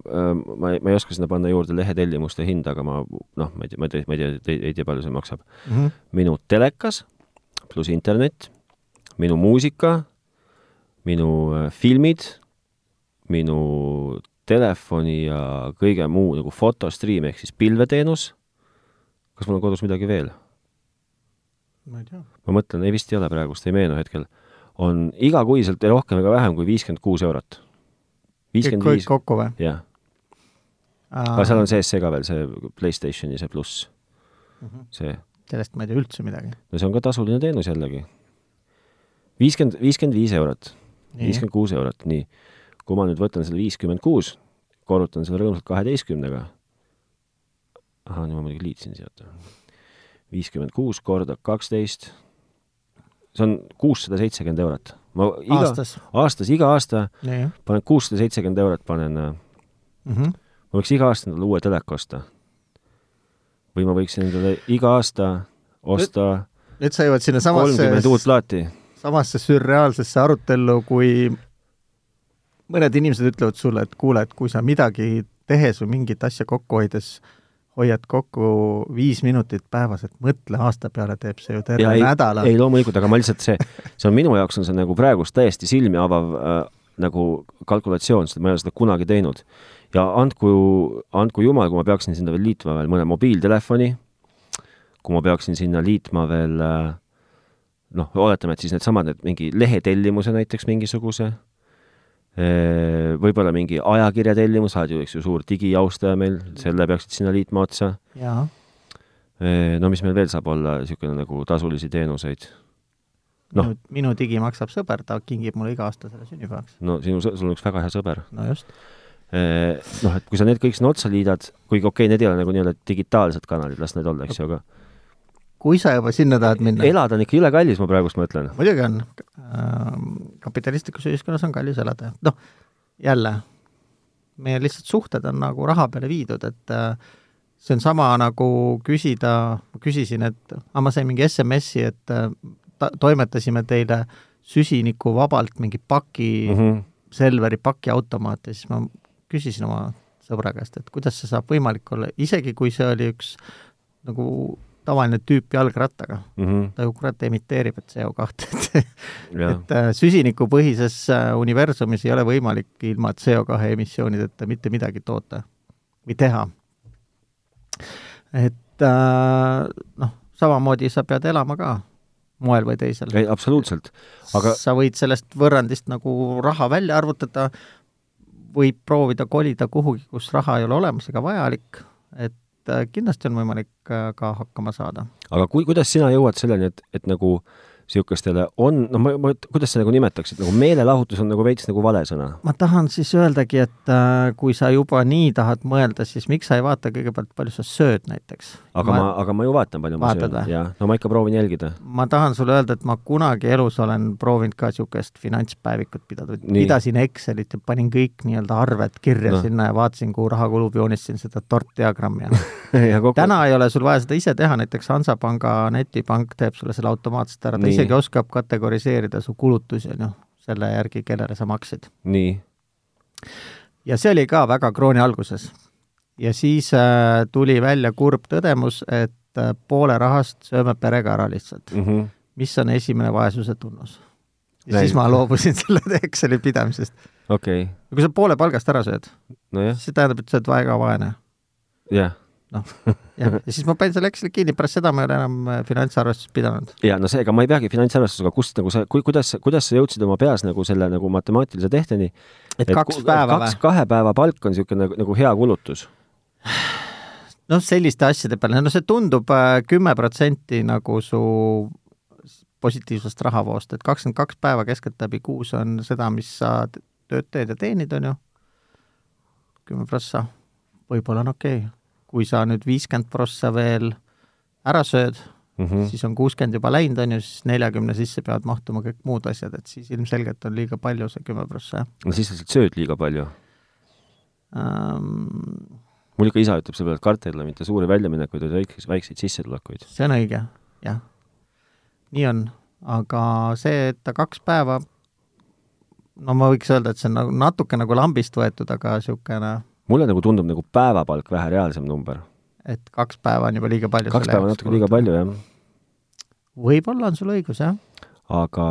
A: ma ei , ma ei oska sinna panna juurde lehetellimuste hinda , aga ma noh , ma ei tea , ma ei tea , ma ei tea , ei tea , palju see maksab . minu telekas pluss internet , minu muusika , minu äh, filmid , minu telefoni ja kõige muu nagu fotostriim ehk siis pilveteenus . kas mul on kodus midagi veel ?
B: ma ei tea .
A: ma mõtlen , ei vist ei ole praegust , ei meenu hetkel . on igakuiselt ei rohkem ega vähem kui viiskümmend kuus eurot .
B: kõik ,
A: viiskümmend
B: kõik
A: viis ,
B: kokku või ?
A: jah . aga seal on sees see ka veel , see Playstationi see pluss ,
B: Mhm.
A: see
B: sellest ma ei tea üldse midagi .
A: no see on ka tasuline teenus jällegi . viiskümmend , viiskümmend viis eurot , viiskümmend kuus eurot , nii . kui ma nüüd võtan selle viiskümmend kuus , korrutan selle rõõmsalt kaheteistkümnega . ahah , nüüd ma muidugi liitsin siia , oota . viiskümmend kuus korda kaksteist , see on kuussada seitsekümmend eurot . ma iga,
B: Aastas?
A: aastas, iga aasta
B: nii
A: panen kuussada seitsekümmend eurot panen äh,
B: mm. -hmm.
A: ma võiks iga aasta endale uue teleka osta . või ma võiksin endale iga aasta osta
B: nüüd sa jõuad sinna
A: kolmkümmend uut
B: samasse ,
A: plaati .
B: samasse sürreaalsesse arutellu , kui mõned inimesed ütlevad sulle , et kuule , et kui sa midagi tehes või mingit asja kokku hoides hoiad kokku viis minutit päevas , et mõtle aasta peale , teeb see ju terve
A: ei,
B: nädala .
A: ei loomulikult , aga ma lihtsalt see , see on minu jaoks on see nagu praegust täiesti silmi avav äh, nagu kalkulatsioon , sest ma ei ole seda kunagi teinud . ja andku , andku jumal , kui ma peaksin sinna veel liitma veel mõne mobiiltelefoni , kui ma peaksin sinna liitma veel äh, noh , oletame , et siis needsamad need mingi lehetellimuse näiteks mingisuguse , võib-olla mingi ajakirja tellimus , sa oled ju , eks ju , suur digijaustaja meil , selle peaksid sinna liitma otsa
B: jaa ,
A: no mis meil veel saab olla , niisugune nagu tasulisi teenuseid ? Noh.
B: minu, minu digi maksab sõber , ta kingib mulle iga aasta selle sünnipäevaks .
A: no sinu , sul on üks väga hea sõber .
B: no just .
A: Noh , et kui sa need kõik sinna otsa liidad , kuigi okei okay, , need ei ole nagu nii-öelda digitaalsed kanalid , las need olla , eks ju , aga
B: kui sa juba sinna tahad minna .
A: elada on ikka jõle kallis , ma praegust mõtlen .
B: muidugi on ähm, , kapitalistlikus ühiskonnas on kallis elada , noh jälle , meie lihtsalt suhted on nagu raha peale viidud , et äh, see on sama nagu küsida , ma küsisin , et aga ma sain mingi SMS-i , et äh, ta, toimetasime teile süsinikuvabalt mingi paki
A: Mhm.
B: mm , -hmm. Selveri pakiautomaat ja siis ma küsisin oma sõbra käest , et kuidas see saab võimalik olla , isegi kui see oli üks nagu tavaline tüüp jalgrattaga ,
A: Mhm,
B: ta ju kurat emiteerib , et CO2 , et
A: jah ,
B: et äh, süsinikupõhises äh, universumis ei ole võimalik ilma CO2 emissioonideta mitte midagi toota või teha . et äh, noh , samamoodi sa pead elama ka moel või teisel .
A: ei absoluutselt , aga
B: sa võid sellest võrrandist nagu raha välja arvutada , võib proovida kolida kuhugi , kus raha ei ole olemas ega vajalik , et äh, kindlasti on võimalik äh, ka hakkama saada .
A: aga kui , kuidas sina jõuad selleni , et , et nagu niisugustele on , no ma , ma , kuidas sa nagu nimetaksid , nagu meelelahutus on nagu veits nagu vale sõna .
B: ma tahan siis öeldagi , et äh, kui sa juba nii tahad mõelda , siis miks sa ei vaata kõigepealt , palju sa sööd näiteks ?
A: aga ma, ma , aga ma ju vaatan , palju ma
B: Vaatad
A: söön
B: või? ,
A: jah , no ma ikka proovin jälgida .
B: ma tahan sulle öelda , et ma kunagi elus olen proovinud ka niisugust finantspäevikut pidada ,
A: Nii.
B: pidasin Excelit ja panin kõik nii-öelda arved kirja
A: Noh.
B: no. sinna ja vaatasin , kuhu raha kulub , joonistasin seda tortdiagrammi ja täna ei ole sul vaja seda ise teha , näiteks Hansapanga netipank teeb sulle selle automaatselt ära , ta
A: Nii.
B: nii. isegi oskab kategoriseerida su kulutusi , on ju , selle järgi , kellele sa maksid .
A: nii ,
B: ja see oli ka väga krooni alguses . ja siis äh, tuli välja kurb tõdemus , et äh, poole rahast sööme perega ära lihtsalt ,
A: Mhm.
B: mis on esimene vaesuse tunnus . ja
A: Näi-
B: siis ma loobusin selle Exceli pidamisest .
A: okei ,
B: kui sa poole palgast ära sööd ,
A: nojah .
B: siis see tähendab , et sa oled väga vaene .
A: jah ,
B: jah , ja siis ma panin selle Exceli kinni , pärast seda ma ei ole enam äh, finantsarvestust pidanud .
A: ja no seega ma ei peagi finantsarvestusega , kust nagu sa , kui , kuidas , kuidas sa jõudsid oma peas nagu selle nagu matemaatilise tehteni ?
B: et kaks päeva või
A: kaks ?, kahe päeva palk on niisugune nagu, nagu hea kulutus .
B: noh , selliste asjade peale , no see tundub kümme protsenti nagu su s- positiivsest rahavoost , et kakskümmend kaks päeva keskeltläbi kuus on seda , mis sa t- tööd teed ja teenid , on ju , kümme prossa , võib-olla on okei okay. . kui sa nüüd viiskümmend prossa veel ära sööd
A: Mm
B: mm. ,
A: -hmm.
B: siis on kuuskümmend juba läinud , on ju , siis neljakümne sisse peavad mahtuma kõik muud asjad , et siis ilmselgelt on liiga palju see kümme prossa ,
A: no siis sa lihtsalt sööd liiga palju .
B: jah
A: mul ikka isa ütleb selle peale , et karta ei ole mitte suuri väljaminekuid , vaid väikseid , väikseid sissetulekuid .
B: see on õige , jah . nii on , aga see , et ta kaks päeva , no ma võiks öelda , et see on nagu natuke nagu lambist võetud , aga niisugune ,
A: mulle nagu tundub nagu päevapalk vähe reaalsem number .
B: et kaks päeva on juba liiga palju .
A: kaks päeva on natuke liiga . palju , jah .
B: võib-olla on sul õigus , jah .
A: aga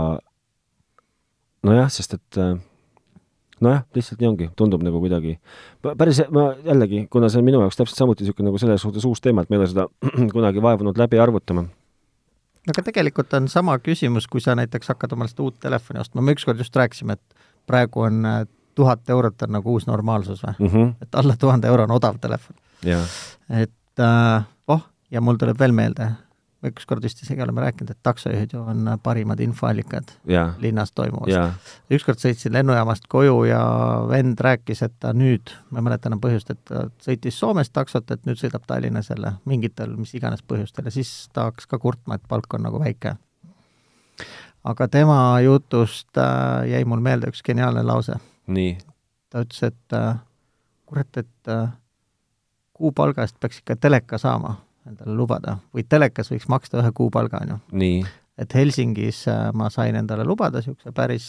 A: nojah , sest et äh, nojah , lihtsalt nii ongi , tundub nagu kuidagi , päris , ma jällegi , kuna see on minu jaoks täpselt samuti niisugune nagu selles suhtes uus teema , et me ei ole seda kunagi vaevunud läbi arvutama .
B: aga tegelikult on sama küsimus , kui sa näiteks hakkad omale seda uut telefoni ostma , me ükskord just rääkisime , et praegu on eh, tuhat eurot on nagu uus normaalsus või ?
A: Mhm,
B: et alla tuhande euro on odav telefon .
A: jah ,
B: et äh, oh , ja mul tuleb veel meelde , me ükskord vist isegi oleme rääkinud , et taksojuhid ju on parimad infoallikad
A: jah ,
B: linnas toimuvast .
A: jah ,
B: ükskord sõitsin lennujaamast koju ja vend rääkis , et ta nüüd , ma ei mäleta enam põhjust , et ta sõitis Soomest taksot , et nüüd sõidab Tallinnas jälle mingitel mis iganes põhjustel ja siis ta hakkas ka kurtma , et palk on nagu väike . aga tema jutust äh, jäi mul meelde üks geniaalne lause.
A: nii ,
B: ta ütles , et äh, kurat , et äh, kuupalga eest peaks ikka teleka saama endale lubada või telekas võiks maksta ühe kuupalga , on ju .
A: nii ,
B: et Helsingis äh, ma sain endale lubada niisuguse päris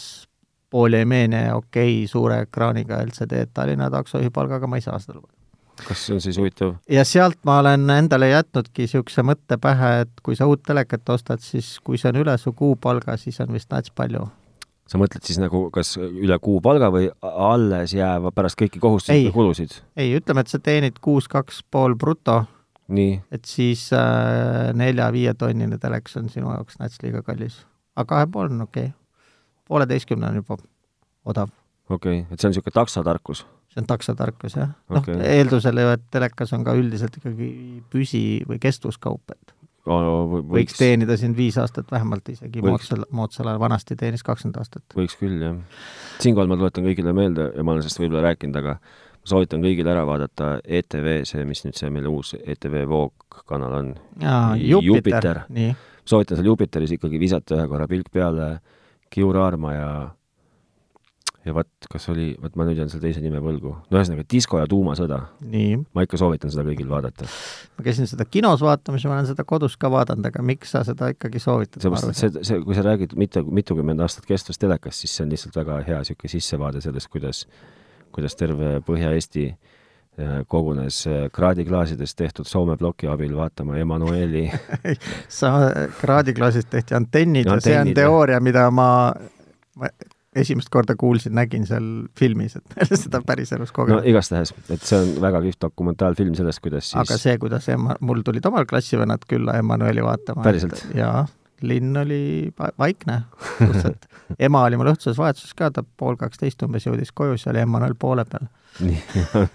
B: pooliemeene ja okei suure ekraaniga LCD, et Tallinna taksojuhi palgaga ma ei saa seda lubada .
A: kas see on siis huvitav ?
B: ja sealt ma olen endale jätnudki niisuguse mõtte pähe , et kui sa uut telekat ostad , siis kui see on üle su kuupalga , siis on vist nats palju .
A: sa mõtled siis nagu kas üle kuupalga või a- alles jääva pärast kõiki kohustusi
B: Ei.
A: ja kulusid ?
B: ei , ütleme , et sa teenid kuus kaks pool bruto ,
A: nii ,
B: et siis äh, nelja-viietonnine telekas on sinu jaoks nats liiga kallis . aga kahepoolne on okei okay. . pooleteistkümne on juba odav .
A: okei okay. , et see on niisugune taksotarkus .
B: see on taksotarkus , jah . noh
A: Okei.
B: okay. , eeldusel ju , et telekas on ka üldiselt ikkagi püsi- või kestvuskaup , et võiks
A: võiks ,
B: teenida siin viis aastat vähemalt isegi
A: Võiks.
B: moodsal , moodsal ajal , vanasti teenis kakskümmend aastat .
A: võiks küll , jah . siinkohal ma tuletan kõigile meelde ja ma olen sellest võib-olla rääkinud , aga ma soovitan kõigil ära vaadata ETV , see , mis nüüd see meil uus E ETV Voog kanal on .
B: jaa ,
A: Jupiter.
B: Jupiter, Jupiter. , nii .
A: soovitan seal Jupiteris ikkagi visata ühe korra pilk peale kiuraarma ja ja vot , kas oli , vot ma nüüd jään selle teise nime võlgu . no ühesõnaga , disko ja tuumasõda .
B: nii ,
A: ma ikka soovitan seda kõigil vaadata .
B: ma käisin seda kinos vaatamas ja ma olen seda kodus ka vaadanud , aga miks sa seda ikkagi soovitad ?
A: seepärast , et see , see , kui sa räägid mitu , mitukümmend aastat kestvast telekast , siis see on lihtsalt väga hea niisugune sissevaade sellest , kuidas , kuidas terve Põhja-Eesti eh, kogunes eh, kraadiklaasidest tehtud Soome ploki abil vaatama Emmanueli .
B: sa , kraadiklaasis tehti antennid ja see on
A: Antennid, jah.
B: teooria , mida ma, ma esimest korda kuulsin , nägin seal filmis , et ma ei ole seda päriselus
A: no
B: kogenud no, .
A: igastahes , et see on väga kihvt dokumentaalfilm sellest , kuidas
B: aga
A: siis
B: see , kuidas ema , mul tulid omal klassivennad külla Emmanueli vaatama .
A: Päriselt? ?
B: jaa , linn oli va- vaikne , lihtsalt ema oli mul õhtuses vahetuses ka , ta pool kaksteist umbes jõudis koju , siis oli Emmanuel poole peal .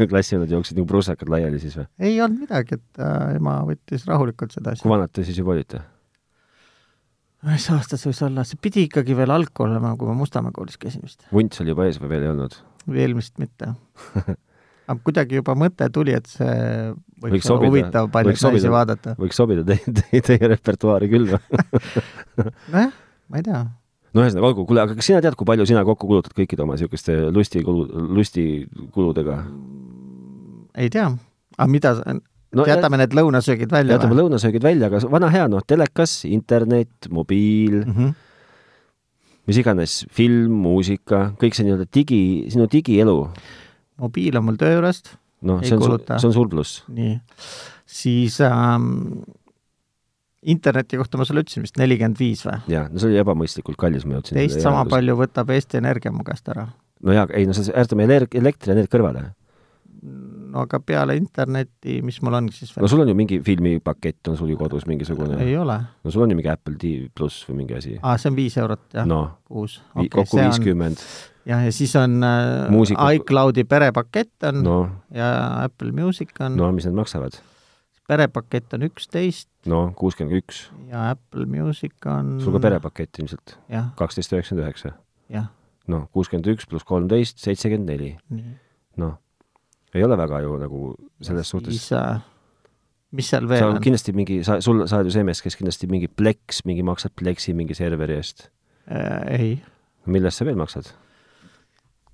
A: klassivennad jooksid nagu prussakad laiali siis või ?
B: ei olnud midagi , et äh, ema võttis rahulikult seda
A: kui
B: asja .
A: vanad te siis juba olite ?
B: mis aastas võis olla , see pidi ikkagi veel algkool olema , kui ma Mustamäe koolis käisin vist .
A: vunt seal juba ees või veel ei olnud ?
B: veel vist mitte . aga kuidagi juba mõte tuli , et see võiks,
A: Võiks
B: võiks
A: sobida,
B: olla huvitav
A: võiks
B: paljud naisi
A: sobida.
B: vaadata .
A: võiks sobida teie te, , teie repertuaari küll või ?
B: nojah , ma ei tea .
A: no ühesõnaga , olgu , kuule , aga kas sina tead , kui palju sina kokku kulutad kõikide oma niisuguste lustikulu , lustikuludega ?
B: ei tea . aga mida
A: No
B: no, , jätame need lõunasöögid välja
A: jätame lõunasöögid välja , aga s- vana hea , noh , telekas , internet , mobiil ,
B: mm ? -hmm.
A: mis iganes , film , muusika , kõik see nii-öelda digi , sinu digielu ,
B: mobiil on mul töö juurest ,
A: noh ,
B: Ei
A: see on ,
B: kuluta.
A: see on suur pluss .
B: nii . siis ähm, interneti kohta ma sulle ütlesin vist nelikümmend viis või ?
A: jaa , no see oli ebamõistlikult kallis , ma jõudsin .
B: teist sama . palju võtab Eesti Energia mu käest ära .
A: no jaa , ei no see , jätame eler- elektrienergia kõrvale .
B: no aga peale interneti , mis mul on siis
A: no
B: veel ?
A: sul on ju mingi filmipakett on sul ju kodus mingisugune .
B: ei ole .
A: no sul on ju mingi Apple TV pluss või mingi asi .
B: aa , see on viis eurot , jah no. ,
A: noh ,
B: kuus .
A: kokku viiskümmend ,
B: jah , ja siis on äh,
A: Muusika-
B: iCloudi perepakett on no.
A: noh ,
B: ja Apple Music on no. ,
A: no mis need maksavad ?
B: perepakett on üksteist
A: no noh, kuuskümmend üks ,
B: ja Apple Music on
A: sul ka perepakett ilmselt ,
B: jah ,
A: kaksteist üheksakümmend üheksa .
B: jah ,
A: noh , kuuskümmend üks pluss kolmteist , seitsekümmend neli ,
B: nii .
A: noh , ei ole väga ju nagu selles suhtes
B: siis äh, mis seal
A: sa
B: veel on,
A: on kindlasti mingi , sa , sul , sa oled ju see mees , kes kindlasti mingi pleks , mingi maksad pleksi mingi serveri eest .
B: Äh, ei
A: millest sa veel maksad ?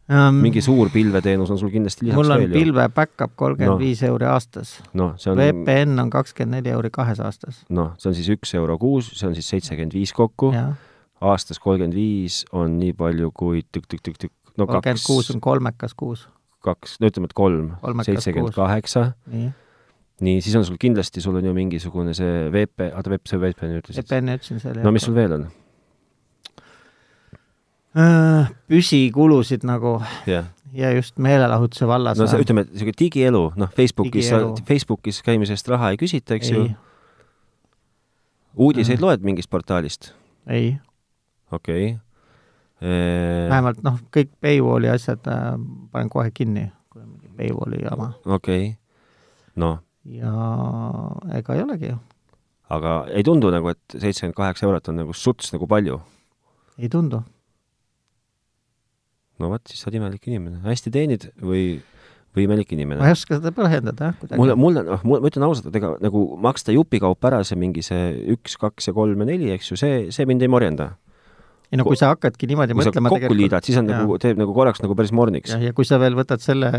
B: um,
A: mingi suur pilveteenus on sul kindlasti lisaks
B: mul on
A: veel ju .
B: pilve back-up kolmkümmend
A: No.
B: viis euri aastas ,
A: noh , see on ,
B: VPN on kakskümmend neli euri kahes aastas ,
A: noh , see on siis üks euro kuus , see on siis seitsekümmend viis kokku ,
B: jah ,
A: aastas kolmkümmend viis on nii palju kui tükk-tükk-tükk-tükk , no
B: kolmkümmend kuus
A: kaks ,
B: on kolmekas kuus ,
A: kaks , no ütleme , et kolm ,
B: Kolmekas
A: seitsekümmend
B: kuus.
A: kaheksa
B: nii .
A: nii , siis on sul kindlasti , sul on ju mingisugune see ah, VP , oota , VP , see VPN ütlesid .
B: VPN-i ütlesin selle
A: no mis sul veel on ?
B: Äh, püsikulusid nagu
A: jah ,
B: ja just meelelahutuse vallas
A: no see , ütleme , niisugune digielu , noh , Facebookis
B: Digielu. ,
A: Facebookis käimise eest raha ei küsita , eks ju .
B: Mm.
A: uudiseid loed mingist portaalist ?
B: ei , ei ,
A: okei okay. .
B: vähemalt noh , kõik paywall'i asjad äh, panen kohe kinni , kui on mingi paywall'i jama
A: okei , noh ,
B: ja ega ei olegi ju ,
A: aga ei tundu nagu , et seitsekümmend kaheksa eurot on nagu suts nagu palju .
B: ei tundu .
A: no vot , siis sa oled imelik inimene . hästi teenid või , või imelik inimene
B: ma ? ei oska seda põhjendada jah , kuidagi
A: mulle , mulle , noh , ma ütlen ausalt , et ega nagu maksta jupikaupa ära see mingi see üks , kaks ja kolm ja neli , eks ju , see , see mind ei morjenda .
B: ei no kui sa hakkadki niimoodi
A: kui sa
B: mõtlema
A: kokku liidad , siis on
B: Jaa.
A: nagu , teeb nagu korraks nagu päris morniks
B: ja , ja kui sa veel võtad selle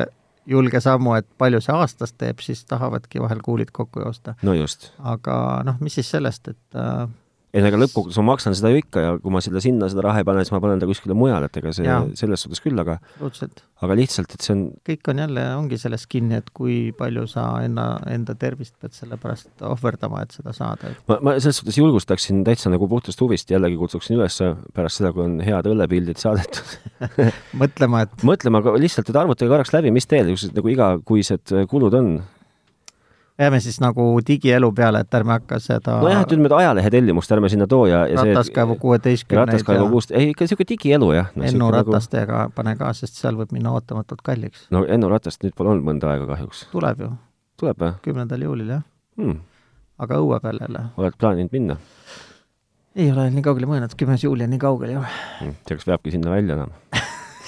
B: julge sammu , et palju see aastas teeb , siis tahavadki vahel kuulid kokku joosta .
A: no just .
B: aga noh , mis siis sellest , et äh,
A: ei no ega lõppkokkuvõttes ma maksan seda ju ikka ja kui ma seda sinna seda raha ei pane , siis ma panen ta kuskile mujale , et ega see ja.
B: Jaa.
A: selles suhtes küll , aga ,
B: absoluutselt
A: aga lihtsalt , et see on
B: kõik on jälle , ongi selles kinni , et kui palju sa enna , enda tervist pead selle pärast ohverdama , et seda saada .
A: ma , ma selles suhtes julgustaksin täitsa nagu puhtast huvist , jällegi kutsuksin üles pärast seda , kui on head õllepildid saadetud ,
B: mõtlema , et
A: mõtlema aga lihtsalt , et arvutage korraks läbi , mis teil niisugused nagu igakuised kulud on .
B: jääme siis nagu digielu peale , et ärme hakka seda
A: nojah , et ütleme , et ajalehe tellimust ärme sinna too ja , ja
B: rataskaevu kuueteistkümneid
A: rataskaevu
B: ja
A: kuust , nagu ei ikka niisugune digielu jah no, .
B: Ennu ratastega pane ka , sest seal võib minna ootamatult kalliks .
A: no Ennu ratast nüüd pole olnud mõnda aega kahjuks .
B: tuleb ju ,
A: tuleb või
B: kümnendal juulil jah ,
A: hmm. ?
B: aga õue peal jälle .
A: oled plaaninud minna
B: ei ole nii kaugele mõelnud , kümnes juuli on nii kaugel ju .
A: hmm. ? tea , kas peabki sinna välja enam ?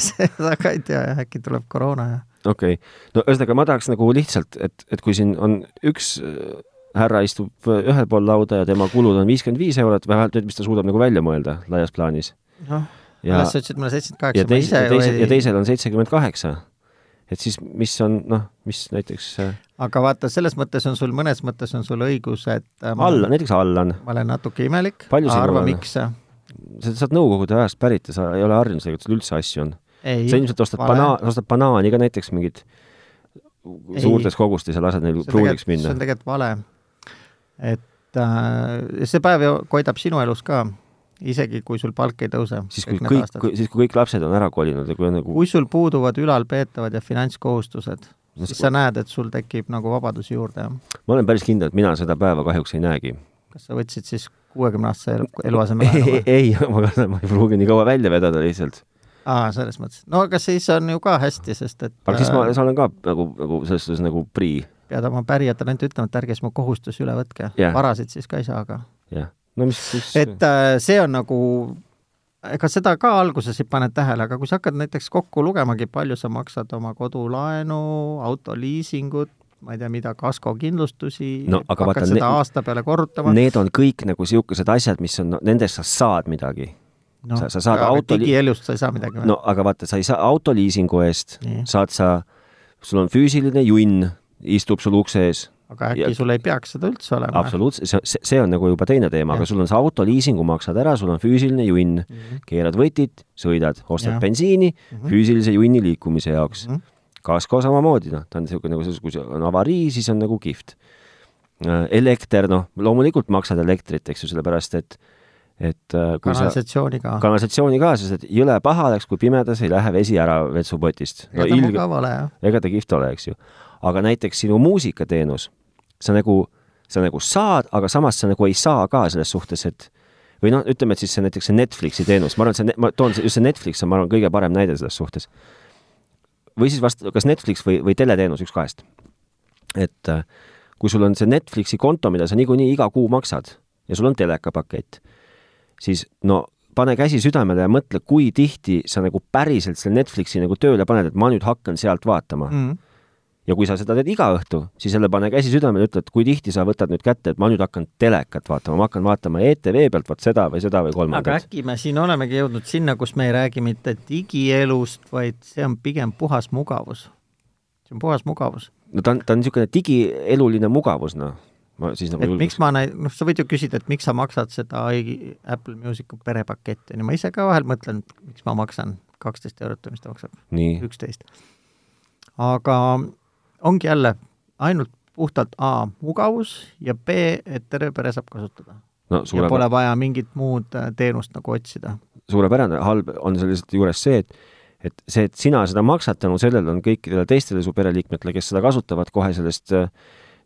B: seda ka ei tea jah , äkki tuleb koroona ja
A: okei okay. , no ühesõnaga ma tahaks nagu lihtsalt , et , et kui siin on üks äh, härra istub äh, ühel pool lauda ja tema kulud on viiskümmend viis eurot , vähemalt nüüd , mis ta suudab nagu välja mõelda laias plaanis .
B: noh ,
A: ja ,
B: alles sa ütlesid mulle seitsekümmend
A: ja
B: kaheksa , ma
A: teise ,
B: ise
A: ja
B: ju
A: teise , ja
B: ei ,
A: teisel on seitsekümmend kaheksa . et siis , mis on noh , mis näiteks äh,
B: aga vaata , selles mõttes on sul , mõnes mõttes on sul õigus , et äh, ma,
A: Allan , näiteks Allan ,
B: ma olen natuke imelik ,
A: Palju sinul
B: arva
A: on?
B: miks ,
A: sa sa oled Nõukogude ajast pärit ja sa ei ole harjunud sellega , et sul üldse asju on .
B: ei ,
A: sa ilmselt ostad
B: vale.
A: banaan , ostad banaani ka näiteks mingit suurtes kogustes ja lased neil
B: See on
A: pruuniks
B: tegelikult- see
A: minna
B: on . tegelikult vale . et äh, see päev ju koidab sinu elus ka , isegi kui sul palk ei tõuse .
A: siis kui kõik , siis kui kõik lapsed on ära kolinud ja kui on nagu
B: kui sul puuduvad ülalpeetavad ja finantskohustused ,
A: No
B: siis
A: see-
B: sa näed , et sul tekib nagu vabadusi juurde , jah ?
A: ma olen päris kindel , et mina seda päeva kahjuks ei näegi .
B: kas sa võtsid siis kuuekümneaastase elu , eluaseme laenu või ?
A: ei , ma kardan , ma ei pruugi nii kaua välja vedada lihtsalt .
B: aa , selles mõttes . no aga siis on ju ka hästi , sest et
A: aga siis ma
B: äh,
A: siis olen ka nagu , nagu selles suhtes nagu prii ,
B: pead oma pärijatele ainult ütlema , et ärge siis mu kohustusi üle võtke
A: Jah.
B: yeah. . varasid siis ka ei saa , aga
A: jah . no mis , mis
B: et äh, see on nagu , ega seda ka alguses ei pane tähele , aga kui sa hakkad näiteks kokku lugemagi , palju sa maksad oma kodulaenu , autoliisingut , ma ei tea , mida , kaskokindlustusi
A: No aga
B: hakkad
A: vaata,
B: seda
A: ne-
B: aasta peale korrutama .
A: need on kõik nagu niisugused asjad , mis on , nendest sa saad midagi .
B: no,
A: sa- sa saad
B: Noh, aga
A: autoli-
B: digielust sa ei saa midagi või
A: no ? aga vaata , sa ei saa autoliisingu eest ,
B: Nii.
A: saad sa , sul on füüsiline junn , istub sul ukse ees ,
B: aga äkki
A: ja-
B: ja... sul ei peaks seda üldse olema ?
A: absoluutselt , see , see on nagu juba teine teema , aga
B: Jah.
A: sul on see autoliisingu maksad ära , sul on füüsiline junn ,
B: Mhm.
A: keerad võtit , sõidad , ostad
B: Jah.
A: bensiini füüsilise junni liikumise jaoks
B: Mhm.
A: kasko samamoodi , noh , ta on niisugune nagu selles , kui see on avarii , siis on nagu kihvt . elekter , noh , loomulikult maksad elektrit , eks ju , sellepärast et , et äh, kui sa
B: kanalisatsiooniga .
A: kanalisatsiooni ka , sest et jõle paha oleks , kui pimedas ei lähe vesi ära vetsupotist . no
B: ega ta
A: ilge ,
B: mugav ole jah .
A: ega ta kihvt ole , eks ju . aga näiteks sinu muusikateenus , sa nagu , sa nagu saad , aga samas sa nagu ei saa ka selles suhtes , et või noh , ütleme , et siis see näiteks see Netflixi teenus , ma arvan , et see , ma toon , just see Netflix on , ma arvan , kõige parem näide selles suhtes . või siis vast kas Netflix või , või teleteenus , üks kahest . et äh, kui sul on see Netflixi konto , mida sa niikuinii iga kuu maksad ja sul on telekapakett , siis no pane käsi südamele ja mõtle , kui tihti sa nagu päriselt selle Netflixi nagu tööle paned , et ma nüüd hakkan sealt vaatama .
B: Mm.
A: ja kui sa seda teed iga õhtu , siis jälle pane käsi südamele , ütle , et kui tihti sa võtad nüüd kätte , et ma nüüd hakkan telekat vaatama , ma hakkan vaatama ETV pealt vot seda või seda või
B: aga
A: kolmandat .
B: äkki me siin olemegi jõudnud sinna , kus me ei räägi mitte digielust , vaid see on pigem puhas mugavus . see on puhas mugavus .
A: no ta on , ta on niisugune digieluline mugavus , noh . ma siis nagu
B: et miks
A: julgeks .
B: ma näi- , noh , sa võid ju küsida , et miks sa maksad seda i- Apple Music'u perepaketti , onju , ma ise ka vahel mõtlen , miks ma maksan kaksteist eurot või mis ta maksab ,
A: nii ,
B: üksteist . aga ongi jälle ainult puhtalt A mugavus ja B , et terve pere saab kasutada .
A: no
B: ja
A: suurepärane
B: pole vaja mingit muud äh, teenust nagu otsida .
A: suurepärane , halb on selle lihtsalt juures see , et et see , et sina seda maksad , tänu sellele on kõikidele teistele su pereliikmetele , kes seda kasutavad , kohe sellest äh,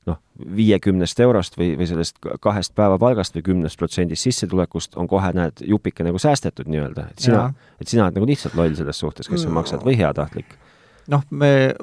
A: noh , viiekümnest eurost või , või sellest ka- kahest päevapalgast või kümnest protsendist sissetulekust on kohe , näed , jupike nagu säästetud nii-öelda , et sina , et sina oled nagu lihtsalt loll selles suhtes , kes sa maksad või heatahtlik .
B: noh , me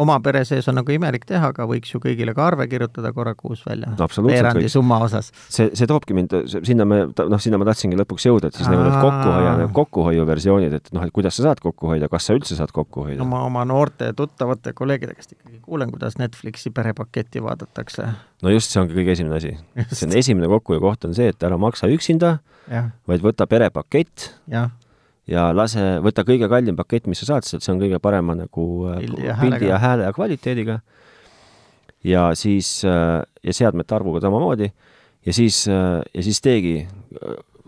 B: oma pere sees on nagu imelik teha, aga võiks ju kõigile ka arve kirjutada korra kuus välja
A: No absoluutselt võiks.
B: summa osas .
A: see , see toobki mind , sinna me , noh , sinna ma tahtsingi lõpuks jõuda , et siis nagu need
B: Aa.
A: kokkuhoia , kokkuhoiu versioonid , et noh , et kuidas sa saad kokku hoida , kas sa üldse saad kokku hoida
B: no ? ma oma noorte tuttavate kolleegide käest ikkagi kuulen , kuidas Netflixi perepaketti vaadatakse .
A: no just , see ongi kõige esimene asi . see on esimene kokkuhoiu koht on see , et ära maksa üksinda ,
B: jah ,
A: vaid võta perepakett
B: jah ,
A: ja lase , võta kõige kallim pakett , mis sa saad , sest see on kõige parema nagu äh,
B: Pildi ja häälega.
A: pildi ja hääle ja kvaliteediga . ja siis äh, ja seadmete arvuga samamoodi ja siis , ja siis teegi ,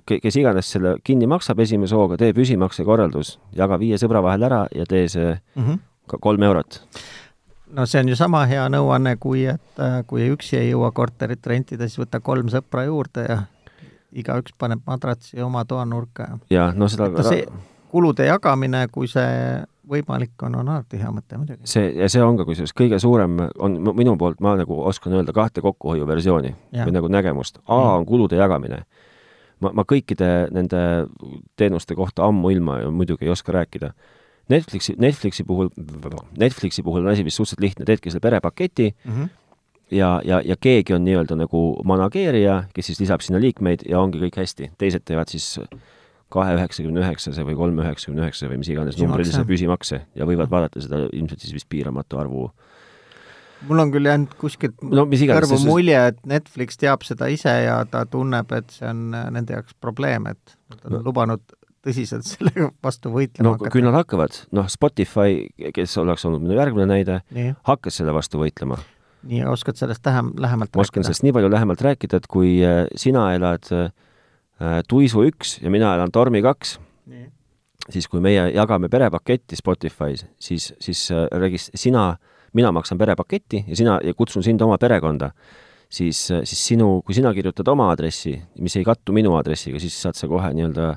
A: kes iganes selle kinni maksab esimese hooga , tee püsimaksekorraldus , jaga viie sõbra vahel ära ja tee see
B: mm . -hmm.
A: ka kolm eurot .
B: no see on ju sama hea nõuanne , kui et äh, kui üksi ei jõua korterit rentida , siis võta kolm sõpra juurde ja igaüks paneb madratsi oma toanurka ja
A: ja noh , seda
B: et see kulude jagamine , kui see võimalik on , on alati hea mõte muidugi .
A: see ja see on ka kusjuures kõige suurem on mu- minu poolt , ma nagu oskan öelda kahte kokkuhoiu versiooni
B: Jah.
A: või nagu nägemust . A on kulude jagamine . ma , ma kõikide nende teenuste kohta ammuilma ju muidugi ei oska rääkida . Netflixi , Netflixi puhul , Netflixi puhul on asi vist suhteliselt lihtne , teedki selle perepaketi
B: Mm -hmm.
A: ja , ja , ja keegi on nii-öelda nagu manageerija , kes siis lisab sinna liikmeid ja ongi kõik hästi . teised teevad siis kahe üheksakümne üheksase või kolme üheksakümne üheksa või mis iganes
B: Püsimakse.
A: numbrilise püsimakse ja võivad vaadata seda ilmselt siis vist piiramatu arvu
B: mul on küll jäänud kuskilt
A: no mis iganes ,
B: kõrvu
A: see,
B: mulje , et Netflix teab seda ise ja ta tunneb , et see on äh, nende jaoks probleem , et nad on
A: No.
B: no. lubanud tõsiselt selle vastu
A: see,
B: võitlema
A: no küll . nad hakkavad , noh , Spotify , kes oleks olnud minu järgmine näide ,
B: nii ,
A: hakkas selle vastu võitlema .
B: nii , oskad sellest tähem- , lähemalt
A: ma oskan sellest nii palju lähemalt rääkida , et kui äh, sina elad äh, Tuisu üks ja mina elan Tormi kaks ,
B: nii ,
A: siis kui meie jagame perepaketti Spotify's , siis , siis äh, regis- , sina , mina maksan perepaketti ja sina , ja kutsun sind oma perekonda , siis , siis sinu , kui sina kirjutad oma aadressi , mis ei kattu minu aadressiga , siis saad sa kohe nii-öelda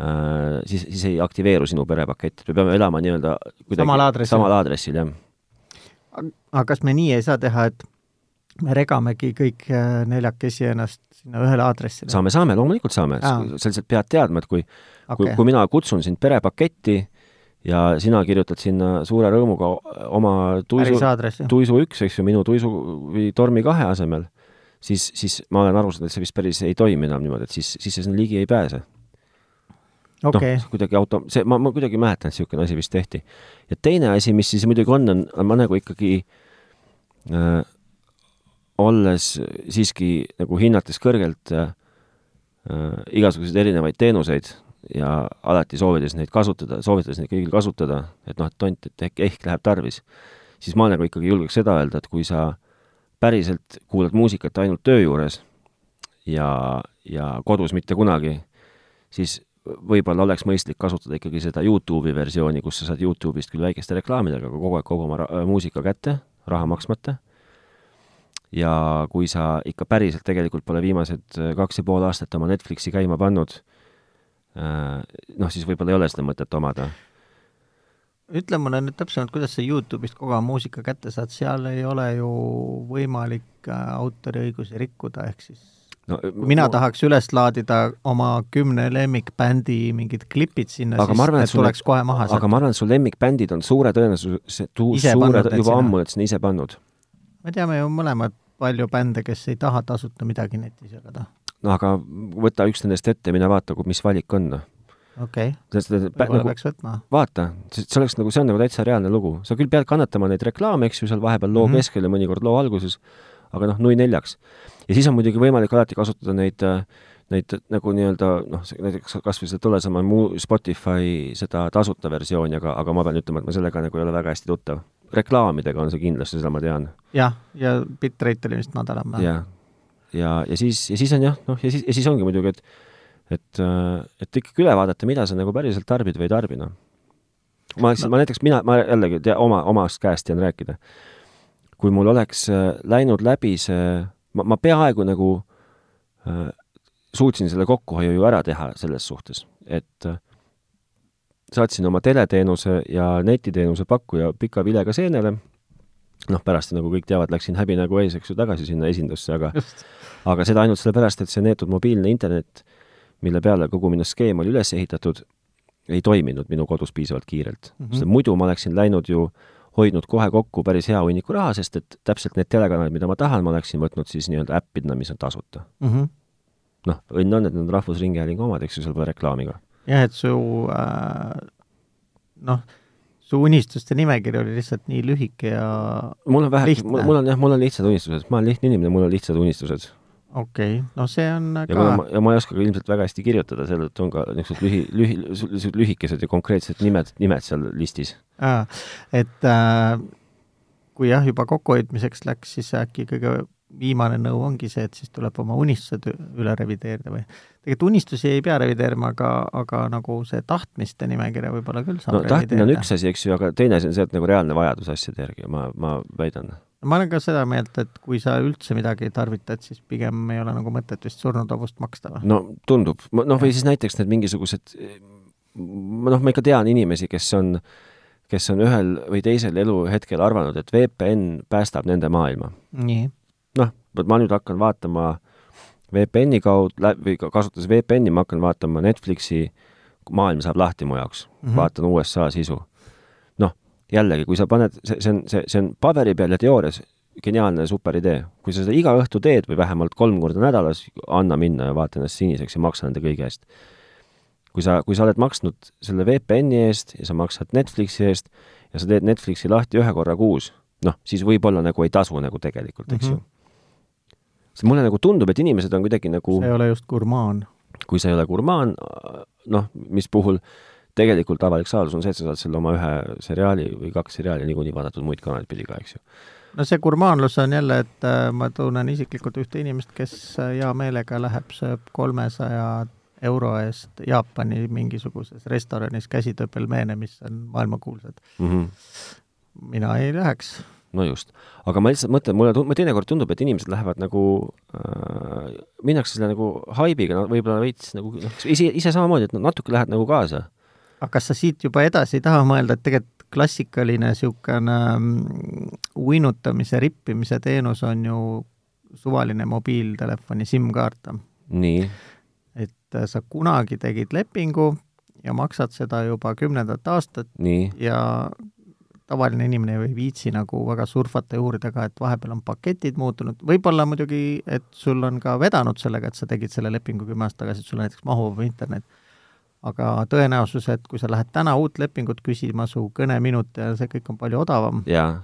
A: äh, siis , siis ei aktiveeru sinu perepakett , me peame elama nii-öelda kuidagi
B: Samal aadressil.
A: samal aadressil , jah .
B: aga kas me nii ei saa teha , et me regamegi kõik äh, neljakesi ennast sinna ühele aadressile ?
A: saame , saame , loomulikult saame
B: Aa. ,
A: sa lihtsalt pead teadma , et kui okay. ,
B: okei
A: kui , mina kutsun sind perepaketti ja sina kirjutad sinna suure rõõmuga o- oma tuisu ,
B: pärisaadress , jah ?
A: tuisu üks , eks ju , minu tuisu või tormi kahe asemel , siis , siis ma olen aru saanud , et see vist päris ei toimi enam niimoodi , et siis , siis sa sinna ligi ei pääse .
B: okei ,
A: noh , kuidagi auto , see , ma , ma kuidagi mäletan , et niisugune asi vist tehti . ja teine asi , mis siis muidugi on , on , ma nagu ikkagi äh, olles siiski nagu hinnates kõrgelt äh, äh, igasuguseid erinevaid teenuseid ja alati soovides neid kasutada , soovitades neid kõigil kasutada , et noh , et tont , et ehk, ehk läheb tarvis , siis ma nagu ikkagi julgeks seda öelda , et kui sa päriselt kuulad muusikat ainult töö juures ja , ja kodus mitte kunagi , siis võib-olla oleks mõistlik kasutada ikkagi seda Youtube'i versiooni , kus sa saad Youtube'ist küll väikeste reklaamidega kogu aeg kogu oma ra- äh, muusika kätte , raha maksmata . ja kui sa ikka päriselt tegelikult pole viimased äh, kaks ja pool aastat oma Netflixi käima pannud , noh , siis võib-olla ei ole seda mõtet omada .
B: ütle mulle nüüd täpsemalt , kuidas sa Youtube'ist kogu aeg muusika kätte saad , seal ei ole ju võimalik äh, autoriõigusi rikkuda , ehk siis
A: no äh,
B: kui mina tahaks üles laadida oma kümne lemmikbändi mingid klipid sinna ,
A: Aga
B: siis
A: ma arvan, et
B: need
A: sul-
B: tuleks kohe maha
A: aga
B: sealt ma... .
A: ma arvan , et su lemmikbändid on suure tõenäosusega ,
B: Ise
A: suure
B: pannud , need
A: juba
B: sinna.
A: ammu oled sinna ise pannud .
B: me teame ju mõlemad palju bände , kes ei taha tasuta midagi netis noh, jagada .
A: no aga võta üks nendest ette , mine vaata , mis valik on . noh.
B: okei okay, , võib-olla
A: Nagu,
B: peaks võtma .
A: vaata , see oleks nagu , see on nagu täitsa reaalne lugu , sa küll pead kannatama neid reklaame , eks ju , seal vahepeal loo mm
B: Mhm.
A: -hmm. keskel ja mõnikord loo alguses , aga noh , nui neljaks . ja siis on muidugi võimalik alati kasutada neid , neid nagu nii-öelda noh , näiteks kas või seda tulesama muu Spotify seda tasuta versiooni , aga , aga ma pean ütlema , et ma sellega nagu ei ole väga hästi tuttav . reklaamidega on see kindlasti , seda ma tean .
B: jah , ja bitrate oli vist madalam .
A: ja , ja , ja siis , ja siis on jah , noh , ja siis , ja siis ongi muidugi , et et , et ikkagi üle vaadata , mida sa nagu päriselt tarbid või ei tarbi , noh . ma , ma näiteks , mina , ma jällegi tea, oma , omast käest tean rääkida . kui mul oleks äh, läinud läbi see , ma , ma peaaegu nagu äh, suutsin selle kokkuhoiu ju ära teha selles suhtes , et äh, saatsin oma teleteenuse ja netiteenuse pakkuja pika vilega seenele , noh , pärast nagu kõik teavad , läksin häbinägu ees , eks ju , tagasi sinna esindusse , aga
B: just ,
A: aga seda ainult sellepärast , et see neetud mobiilne internet , mille peale kogu minu skeem oli üles ehitatud , ei toiminud minu kodus piisavalt kiirelt mm .
B: Mhm.
A: -hmm. sest muidu ma oleksin läinud ju hoidnud kohe kokku päris hea hunniku raha, sest et täpselt need telekanalid, mida ma tahan, ma oleksin võtnud siis nii-öelda äppidena, mis on tasuta.
B: mm . -hmm.
A: noh, õnn on, et need on Rahvusringhäälingu omad, eks ju, seal pole reklaami ka.
B: jah , et su äh, noh , su unistuste nimekiri oli lihtsalt nii lühike ja
A: mul on vähe ,
B: Lihtne.
A: mul mul on jah , mul on lihtsad unistused , ma olen lihtne inimene , mul on lihtsad unistused .
B: okei okay. , no see on
A: ja kuna
B: ka
A: ma , ja ma ei oska ka ilmselt väga hästi kirjutada , selle tõttu on ka niisugused lühi , lühi , niisugused lühikesed ja konkreetsed nimed , nimed seal listis .
B: Aa, et äh, kui jah , juba kokkuhoidmiseks läks , siis äkki kõige viimane nõu ongi see , et siis tuleb oma unistused ü- üle revideerida või tegelikult unistusi ei pea revideerima , aga , aga nagu see tahtmiste nimekirja võib-olla küll saab
A: no tahtmine on
B: revideerida.
A: üks asi , eks ju , aga teine asi on see , et nagu reaalne vajadus asjade järgi , ma , ma väidan .
B: ma olen ka seda meelt , et kui sa üldse midagi ei tarvita , et siis pigem ei ole nagu mõtet vist surnud hobust maksta või ?
A: no tundub , noh , või siis näiteks need mingisugused , noh , ma ikka tean inimesi , kes on , kes on ühel või teisel eluhetkel arvanud , et VPN päästab nende maailma .
B: nii ,
A: noh , vot ma nüüd hakkan vaatama VPN-i kaudu lä- või ka- kasutades VPN-i ma hakkan vaatama Netflixi , maailm saab lahti mu jaoks mm ,
B: Mhm.
A: -hmm. vaatan USA sisu . noh , jällegi , kui sa paned , see , see on , see , see on paberi peal ja teoorias geniaalne ja super idee . kui sa seda iga õhtu teed või vähemalt kolm korda nädalas , anna minna ja vaata ennast siniseks ja maksa nende kõige eest . kui sa , kui sa oled maksnud selle VPN-i eest ja sa maksad Netflixi eest ja sa teed Netflixi lahti ühe korra kuus , noh , siis võib-olla nagu ei tasu nagu tegelikult , eks mm
B: Mhm.
A: -hmm. ju . sest mulle nagu tundub , et inimesed on kuidagi nagu
B: see , ei ole just gurmaan .
A: kui sa ei ole gurmaan , noh , mis puhul tegelikult avalik saladus on see , et sa saad selle oma ühe seriaali või kaks seriaali niikuinii vaadatud muid kanaleid pidi ka , eks ju .
B: no see gurmaanlus on jälle , et äh, ma tunnen isiklikult ühte inimest , kes äh, hea meelega läheb , sööb kolmesaja euro eest Jaapani mingisuguses restoranis käsitööpelmeene , mis on maailmakuulsad .
A: Mm -hmm.
B: mina ei läheks .
A: no just , aga ma lihtsalt mõtlen , mulle tund- , teinekord tundub , et inimesed lähevad nagu äh, , minnakse selle nagu haibiga , no võib-olla veits nagu noh, ise , ise samamoodi , et no natuke lähed nagu kaasa .
B: aga kas sa siit juba edasi ei taha mõelda , et tegelikult klassikaline niisugune mm, uinutamise , rippimise teenus on ju suvaline mobiiltelefoni SIM-kaart
A: nii ,
B: et äh, sa kunagi tegid lepingu ja maksad seda juba kümnendat aastat
A: nii ,
B: ja tavaline inimene ju ei viitsi nagu väga surfata ja uurida ka , et vahepeal on paketid muutunud , võib-olla muidugi , et sul on ka vedanud sellega , et sa tegid selle lepingu kümme aastat tagasi , et sul on näiteks mahuvaba internet , aga tõenäosus , et kui sa lähed täna uut lepingut küsima , su kõneminut ja see kõik on palju odavam ,
A: jaa ,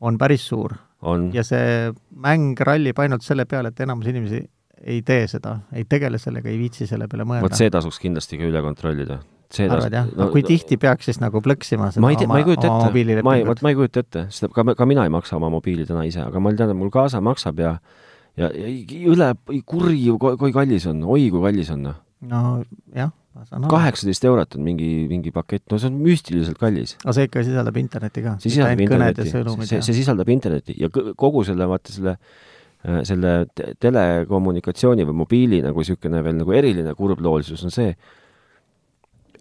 B: on päris suur
A: on ,
B: ja see mäng rallib ainult selle peale , et enamus inimesi ei tee seda , ei tegele sellega , ei viitsi selle peale
A: vot
B: mõelda .
A: see tasuks kindlasti ka üle kontrollida . see
B: arvad jah no, , kui tihti peaks siis nagu plõksima seda
A: ma ei tea , ma ei kujuta ette , ma ei ,
B: mobiililepingut
A: vot ? ma ei kujuta ette , seda ka , ka mina ei maksa oma mobiili täna ise , aga ma tean , et mul kaasa maksab ja ja, ja ei- üle , kurju , kui kallis on , oi kui kallis on .
B: no jah , ma saan aru .
A: kaheksateist eurot on mingi , mingi pakett , no see on müstiliselt kallis .
B: aga see ikka sisaldab internetti ka .
A: see sisaldab internetti , see ,
B: see
A: see sisaldab internetti ja kõ- kogu selle , vaata selle äh, selle te- telekommunikatsiooni või mobiili nagu niisugune veel nagu eriline kurbloolisus on see ,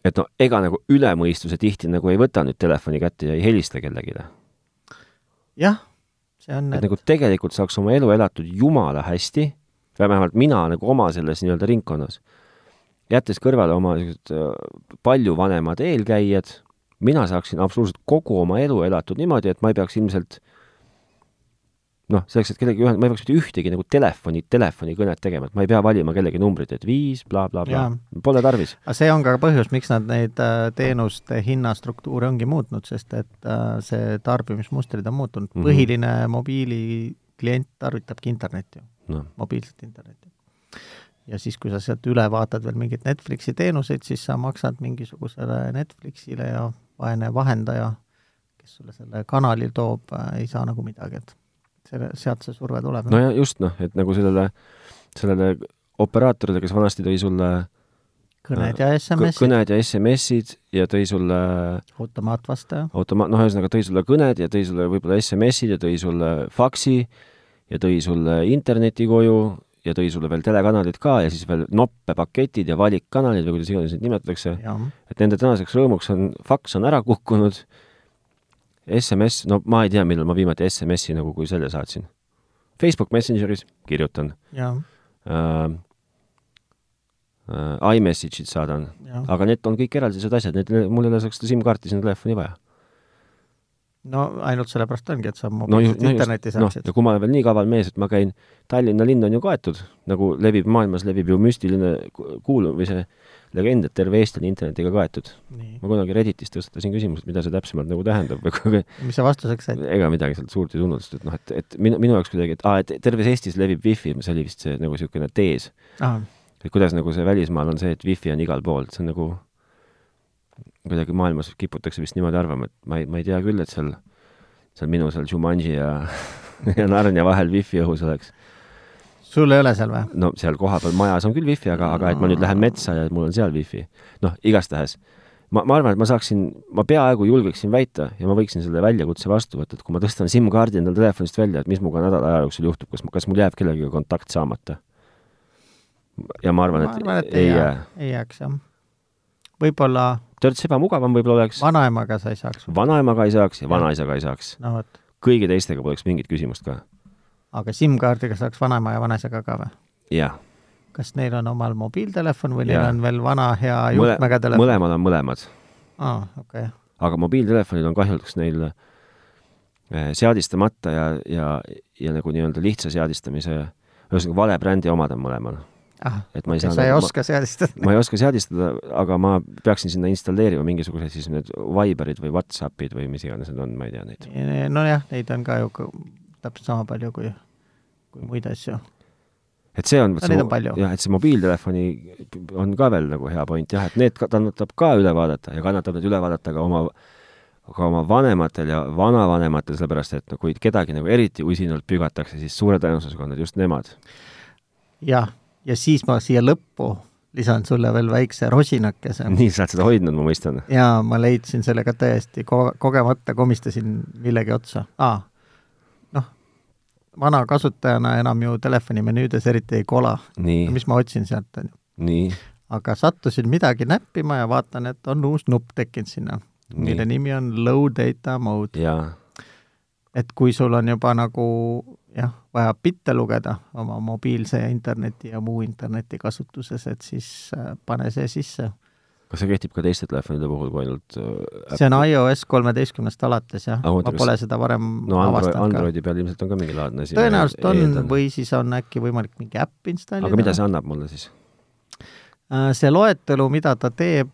A: et no ega nagu üle mõistuse tihti nagu ei võta nüüd telefoni kätte ja ei helista noh. kellegile .
B: jah , see on ,
A: et nagu tegelikult saaks oma elu elatud jumala hästi , vähemalt mina nagu oma selles nii-öelda ringkonnas , jättes kõrvale oma niisugused äh, palju vanemad eelkäijad , mina saaksin absoluutselt kogu oma elu elatud niimoodi , et ma ei peaks ilmselt noh , selleks , et kellegi ühe , ma ei peaks mitte ühtegi nagu telefoni , telefonikõnet tegema , et ma ei pea valima kellegi numbrit , et viis bla, , blablabla
B: Jaa. ,
A: pole tarvis .
B: aga see on ka põhjus , miks nad neid äh, teenuste hinnastruktuure ongi muutnud , sest et äh, see tarbimismustrid on muutunud mm .
A: Mhm.
B: -hmm. põhiline mobiiliklient tarvitabki internetti ju ,
A: noh ,
B: mobiilset internetti . ja siis , kui sa sealt üle vaatad veel mingeid Netflixi teenuseid , siis sa maksad mingisugusele Netflixile ja vaene vahendaja , kes sulle selle kanali toob , ei saa nagu midagi , et selle , sealt see surve tuleb .
A: no ja just noh , et nagu sellele , sellele operaatorile , kes vanasti tõi sulle
B: kõned ja
A: kõ-
B: SMS-id ,
A: kõned ja SMS-id ja tõi sulle
B: automaatvastaja ,
A: automa- , noh , ühesõnaga tõi sulle kõned ja tõi sulle võib-olla SMS-id ja tõi sulle faksi ja tõi sulle interneti koju ja tõi sulle veel telekanalid ka ja siis veel noppepaketid ja valikkanalid või kuidas iganes neid nimetatakse ,
B: jah .
A: et nende tänaseks rõõmuks on , faks on ära kukkunud , SMS , no ma ei tea , millal ma viimati SMS-i nagu kui selle saatsin . Facebook Messengeris kirjutan
B: jah ,
A: äh, , äh, iMessage'id saadan ,
B: jah .
A: aga need on kõik eraldiseisvad asjad , need , mul ei ole selleks SIM-kaarti sinna telefoni vaja .
B: no ainult sellepärast ongi , et sa
A: no, ju, no
B: mobiilset no,
A: just
B: internetti ,
A: noh ,
B: saaksid
A: ja
B: no, .
A: kui ma olen veel nii kaval mees , et ma käin , Tallinna linn on ju kaetud , nagu levib maailmas , levib ju müstiline ku- kuulu- või see legend , et terve Eesti on internetiga kaetud .
B: nii ,
A: ma kunagi Redditis tõstatasin küsimuse , et mida see täpsemalt nagu tähendab või
B: mis sa vastuseks said ?
A: ega midagi sealt suurt ei tulnud , sest et noh , et , et minu , minu jaoks kuidagi , et aa , et terves Eestis levib wifi , see oli vist see nagu niisugune tees ,
B: Ah,
A: et kuidas nagu see välismaal on see , et wifi on igal pool , see on nagu kuidagi maailmas kiputakse vist niimoodi arvama , et ma ei , ma ei tea küll , et seal , seal minu seal Jumanji ja ja Narnia vahel wifi õhus oleks .
B: sul ei ole seal või ?
A: no seal kohapeal majas on küll wifi , aga , aga et ma nüüd lähen metsa ja mul on seal wifi . noh , igastahes ma , ma arvan , et ma saaksin , ma peaaegu julgeksin väita ja ma võiksin selle väljakutse vastu võtta , et kui ma tõstan SIM-kaardi endal telefonist välja , et mis muga nädala aja jooksul juhtub , kas , kas mul jääb kellegagi kontakt saamata ? ja ma arvan , et,
B: arvan , et ei jää , ei jääks jah . võib-olla
A: törts ebamugavam võib-olla oleks ,
B: vanaemaga sa ei
A: Mm.
B: saaks .
A: vanaemaga ei saaks ja vanaisaga ei saaks .
B: no vot ,
A: kõigi teistega poleks mingit küsimust ka .
B: aga SIM-kaardiga saaks vanaema ja vanaisaga ka või ?
A: jah ,
B: kas neil on omal mobiiltelefon või neil
A: Jaa.
B: on veel vana hea juhtmega telefon ?
A: mõlemal on mõlemad
B: aa , okei .
A: aga mobiiltelefonid on kahjuks neil eh, seadistamata ja , ja , ja nagu nii-öelda lihtsa seadistamise , ühesõnaga vale brändi omad on mõlemal .
B: ah ,
A: et ma ei saa
B: sa ei
A: nagu,
B: oska seadistada .
A: ma, ma ei oska seadistada , aga ma peaksin sinna installeerima mingisugused siis need Viberid või Whatsappid või mis iganes need on , ma ei tea neid .
B: nojah , neid on ka ju kõ- täpselt sama palju kui , kui muid asju .
A: et see on
B: No neid on palju.
A: jah , et see mobiiltelefoni on ka veel nagu hea point jah , et need ka- kannatab ka üle vaadata ja kannatab need üle vaadata ka oma ka oma vanematel ja vanavanematel , sellepärast et no kui kedagi nagu eriti usinalt pügatakse , siis suure tõenäosusega on need just nemad .
B: jah , ja siis ma siia lõppu lisan sulle veel väikse rosinakese .
A: nii , sa oled seda hoidnud , ma mõistan .
B: jaa , ma leidsin selle ka täiesti ko- , kogemata komistasin millegi otsa ah, . noh , vana kasutajana enam ju telefonimenüüdes eriti ei kola ,
A: nii ,
B: mis ma otsin sealt , on ju .
A: nii ,
B: aga sattusin midagi näppima ja vaatan , et on uus nupp tekkinud sinna ,
A: nii
B: mille nimi on low data mode .
A: ja
B: et kui sul on juba nagu jah , vaja bitte lugeda oma mobiilse ja interneti ja muu interneti kasutuses , et siis äh, pane see sisse .
A: kas see kehtib ka teiste telefonide puhul kui ainult äh,
B: see on iOS kolmeteistkümnest alates jah ,
A: Aga Ah, oota,
B: ma
A: kas-
B: pole seda varem
A: no Android ,
B: avastanud ka .
A: Androidi peal ilmselt on ka mingi laadne asi .
B: tõenäoliselt on , või siis on äkki võimalik mingi äpp installida .
A: aga mida see annab mulle siis ?
B: Äh, see loetelu , mida ta teeb ,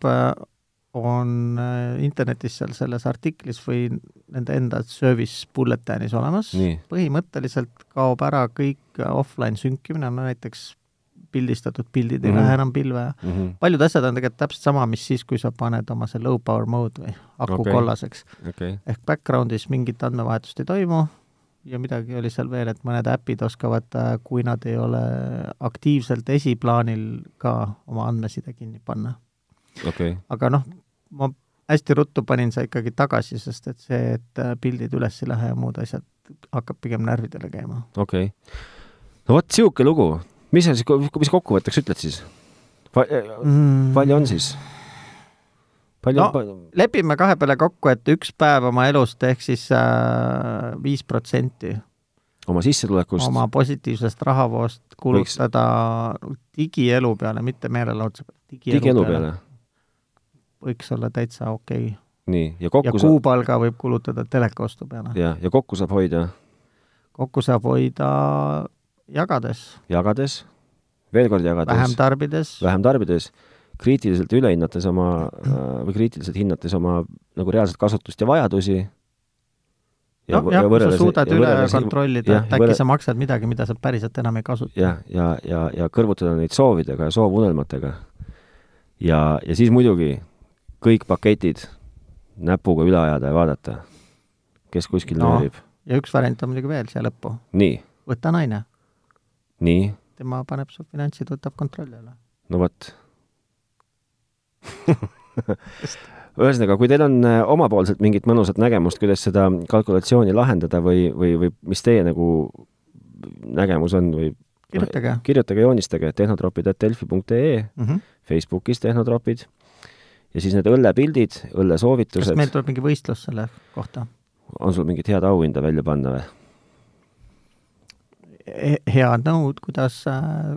B: on äh, internetis seal selles artiklis või nende enda service bulletin'is olemas .
A: nii ,
B: põhimõtteliselt kaob ära kõik äh, offline sünkimine , no näiteks pildistatud pildid ei
A: Mhm.
B: lähe enam pilve ja paljud asjad on tegelikult täpselt sama , mis siis , kui sa paned oma see low power mode või aku
A: Okei.
B: okay. kollaseks .
A: okei ,
B: ehk background'is mingit andmevahetust ei toimu ja midagi oli seal veel , et mõned äpid oskavad , kui nad ei ole aktiivselt esiplaanil ka oma andmeside kinni panna .
A: okei ,
B: aga noh , ma hästi ruttu panin see ikkagi tagasi , sest et see , et äh, pildid üles ei lähe ja muud asjad , hakkab pigem närvidele käima .
A: okei . no vot , sihuke lugu . mis sa siis , mis kokkuvõtteks ütled siis ? palju on siis ? palju
B: No.
A: no. ,
B: lepime kahe peale kokku , et üks päev oma elust ehk siis äh, viis protsenti
A: oma sissetulekust
B: oma positiivsest rahavoost kulutada digielu peale , mitte meelelahutuse peale ,
A: digielu peale .
B: võiks olla täitsa okei okay. .
A: nii , ja
B: ja
A: kokku saab ,
B: kuupalga võib kulutada telekaostu peale .
A: ja , ja kokku saab hoida
B: kokku saab hoida jagades ,
A: jagades , veel kord jagades .
B: vähem tarbides ,
A: vähem tarbides , kriitiliselt üle hinnates oma äh, või kriitiliselt hinnates oma nagu reaalset kasutust ja vajadusi .
B: noh jah , kui sa suudad üle kontrollida , et äkki sa maksad midagi , mida sa päriselt enam ei kasuta .
A: jah , ja , ja , ja kõrvutada neid soovidega ja soovunelmatega . ja , ja siis muidugi kõik paketid näpuga üle ajada ja vaadata , kes kuskil
B: No.
A: no. nöörib .
B: ja üks variant on muidugi veel siia lõppu ,
A: nii ,
B: võta naine ,
A: nii ,
B: tema paneb su finantsid , võtab kontrolli üle .
A: no vot ühesõnaga , kui teil on äh, omapoolselt mingit mõnusat nägemust , kuidas seda kalkulatsiooni lahendada või , või , või mis teie nagu nägemus on või
B: kirjutage
A: kirjutage , joonistage tehnotropid.delfi.ee ,
B: mm . -hmm.
A: Facebookis tehnotropid ja siis need õllepildid ,
B: kas
A: õllesoovitused
B: meil , tuleb mingi võistlus selle kohta ?
A: on sul mingit head auhinda välja panna või ?
B: head nõud , kuidas äh,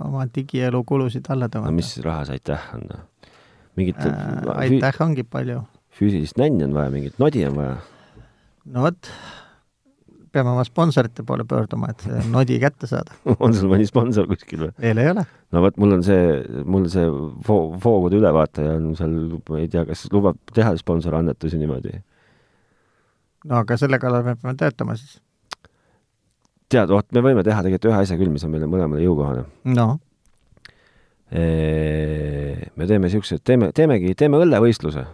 B: oma digielu kulusid alla
A: no
B: tõmmata .
A: mis rahas aitäh on ? mingit
B: äh,
A: äh,
B: aitäh ongi palju .
A: füüsilist nänni on vaja , mingit nodi on vaja ,
B: no vot, peame oma sponsorite poole pöörduma, et see nodi kätte saada .
A: on sul mõni sponsor kuskil või ?
B: veel ei ole .
A: no vot , mul on see , mul see voo- , voogude ülevaataja on seal , ma ei tea , kas lubab teha sponsorannetusi niimoodi .
B: no aga selle kallal me peame töötama siis .
A: tead , vot me võime teha tegelikult ühe asja küll , mis on meile mõlemale jõukohane .
B: no
A: me teeme niisuguse , teeme , teemegi , teeme õllevõistluse .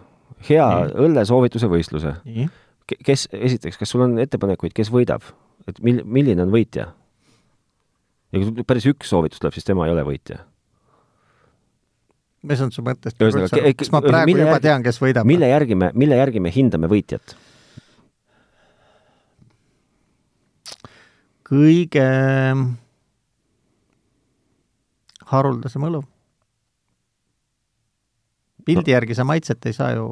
A: hea
B: Nii.
A: õllesoovituse võistluse .
B: nii ,
A: kes , esiteks , kas sul on ettepanekuid , kes võidab ? et mil- , milline on võitja ? ja kui päris üks soovitus tuleb , siis tema ei ole võitja .
B: mis on su mõttest ?
A: Ühesõnaga, ke-
B: kas ma
A: ke-
B: praegu
A: mille
B: juba
A: järgi-
B: tean , kes võidab ?
A: mille järgi me , mille järgi me hindame võitjat ?
B: kõige haruldasem õlu . pildi järgi sa maitset ei saa ju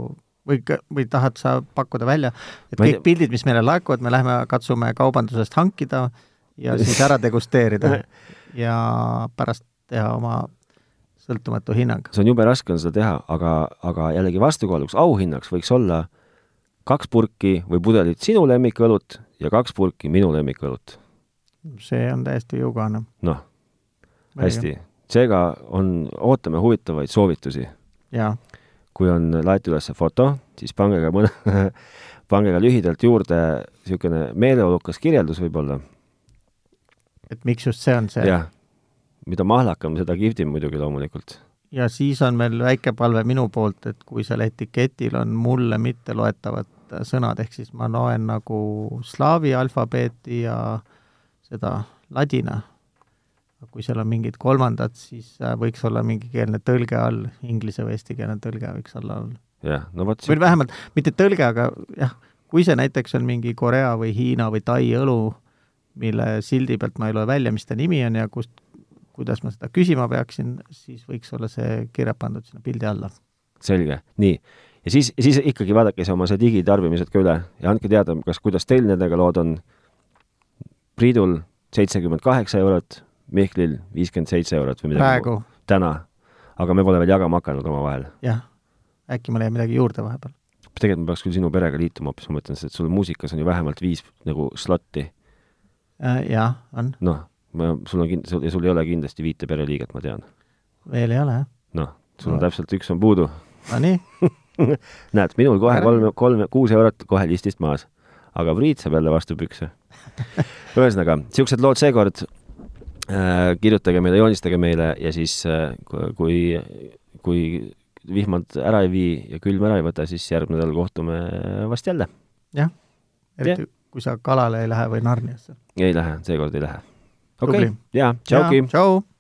B: või , või tahad sa pakkuda välja , et
A: Ma ei
B: kõik pildid , mis meile laekuvad , me lähme katsume kaubandusest hankida ja siis ära degusteerida ja pärast teha oma sõltumatu hinnang .
A: see on jube raske on seda teha , aga , aga jällegi vastukaaluks auhinnaks võiks olla kaks purki või pudelit sinu lemmikõlut ja kaks purki minu lemmikõlut .
B: see on täiesti jõukohane .
A: noh , hästi . seega on , ootame huvitavaid soovitusi .
B: jaa ,
A: kui on laeti üles foto , siis pange ka mõne , pange ka lühidalt juurde niisugune meeleolukas kirjeldus võib-olla .
B: et miks just see on see .
A: jah . mida mahlakam , seda kihvtim muidugi loomulikult .
B: ja siis on veel väike palve minu poolt , et kui seal etiketil on mulle mitteloetavad äh, sõnad , ehk siis ma loen nagu slaavi alfabeeti ja seda ladina . kui seal on mingid kolmandad , siis äh, võiks olla mingikeelne tõlge all , inglise või eestikeelne tõlge võiks olla all .
A: jah , no vot .
B: või vähemalt mitte tõlge , aga jah , kui see näiteks on mingi Korea või Hiina või Tai õlu , mille sildi pealt ma ei loe välja , mis ta nimi on ja kust , kuidas ma seda küsima peaksin , siis võiks olla see kirja pandud sinna pildi alla .
A: selge , nii . ja siis , siis ikkagi vaadake see oma see digitarbimised ka üle ja andke teada , kas , kuidas teil nendega lood on . Priidul seitsekümmend kaheksa eurot , Mihklil viiskümmend seitse eurot või midagi .
B: praegu ,
A: täna . aga me pole veel jagama hakanud omavahel .
B: jah . äkki ma leian midagi juurde vahepeal .
A: tegelikult ma peaks küll sinu perega liituma hoopis , ma mõtlen , et sul muusikas on ju vähemalt viis nagu slot'i .
B: Äh, jah , on ,
A: noh , ma , sul on kind- , sul ja sul ei ole kindlasti viite pereliiget , ma tean .
B: veel ei ole jah .
A: noh , sul on
B: No.
A: täpselt üks on puudu .
B: Nonii ,
A: näed , minul kohe
B: Ära-
A: kolm , kolm , kuus eurot kohe listist maas . aga Priit saab jälle vastu pükse . ühesõnaga , niisugused lood seekord äh, . kirjutage meile , joonistage meile ja siis äh, ku- kui , kui vihmad ära ei vii ja külm ära ei võta , siis järgmine nädal kohtume vast jälle .
B: jah . eriti kui sa kalale ei lähe või Narniasse .
A: ei lähe , seekord ei lähe . okei
B: Tubli.
A: okay. , jaa , tšauki .
B: tšau .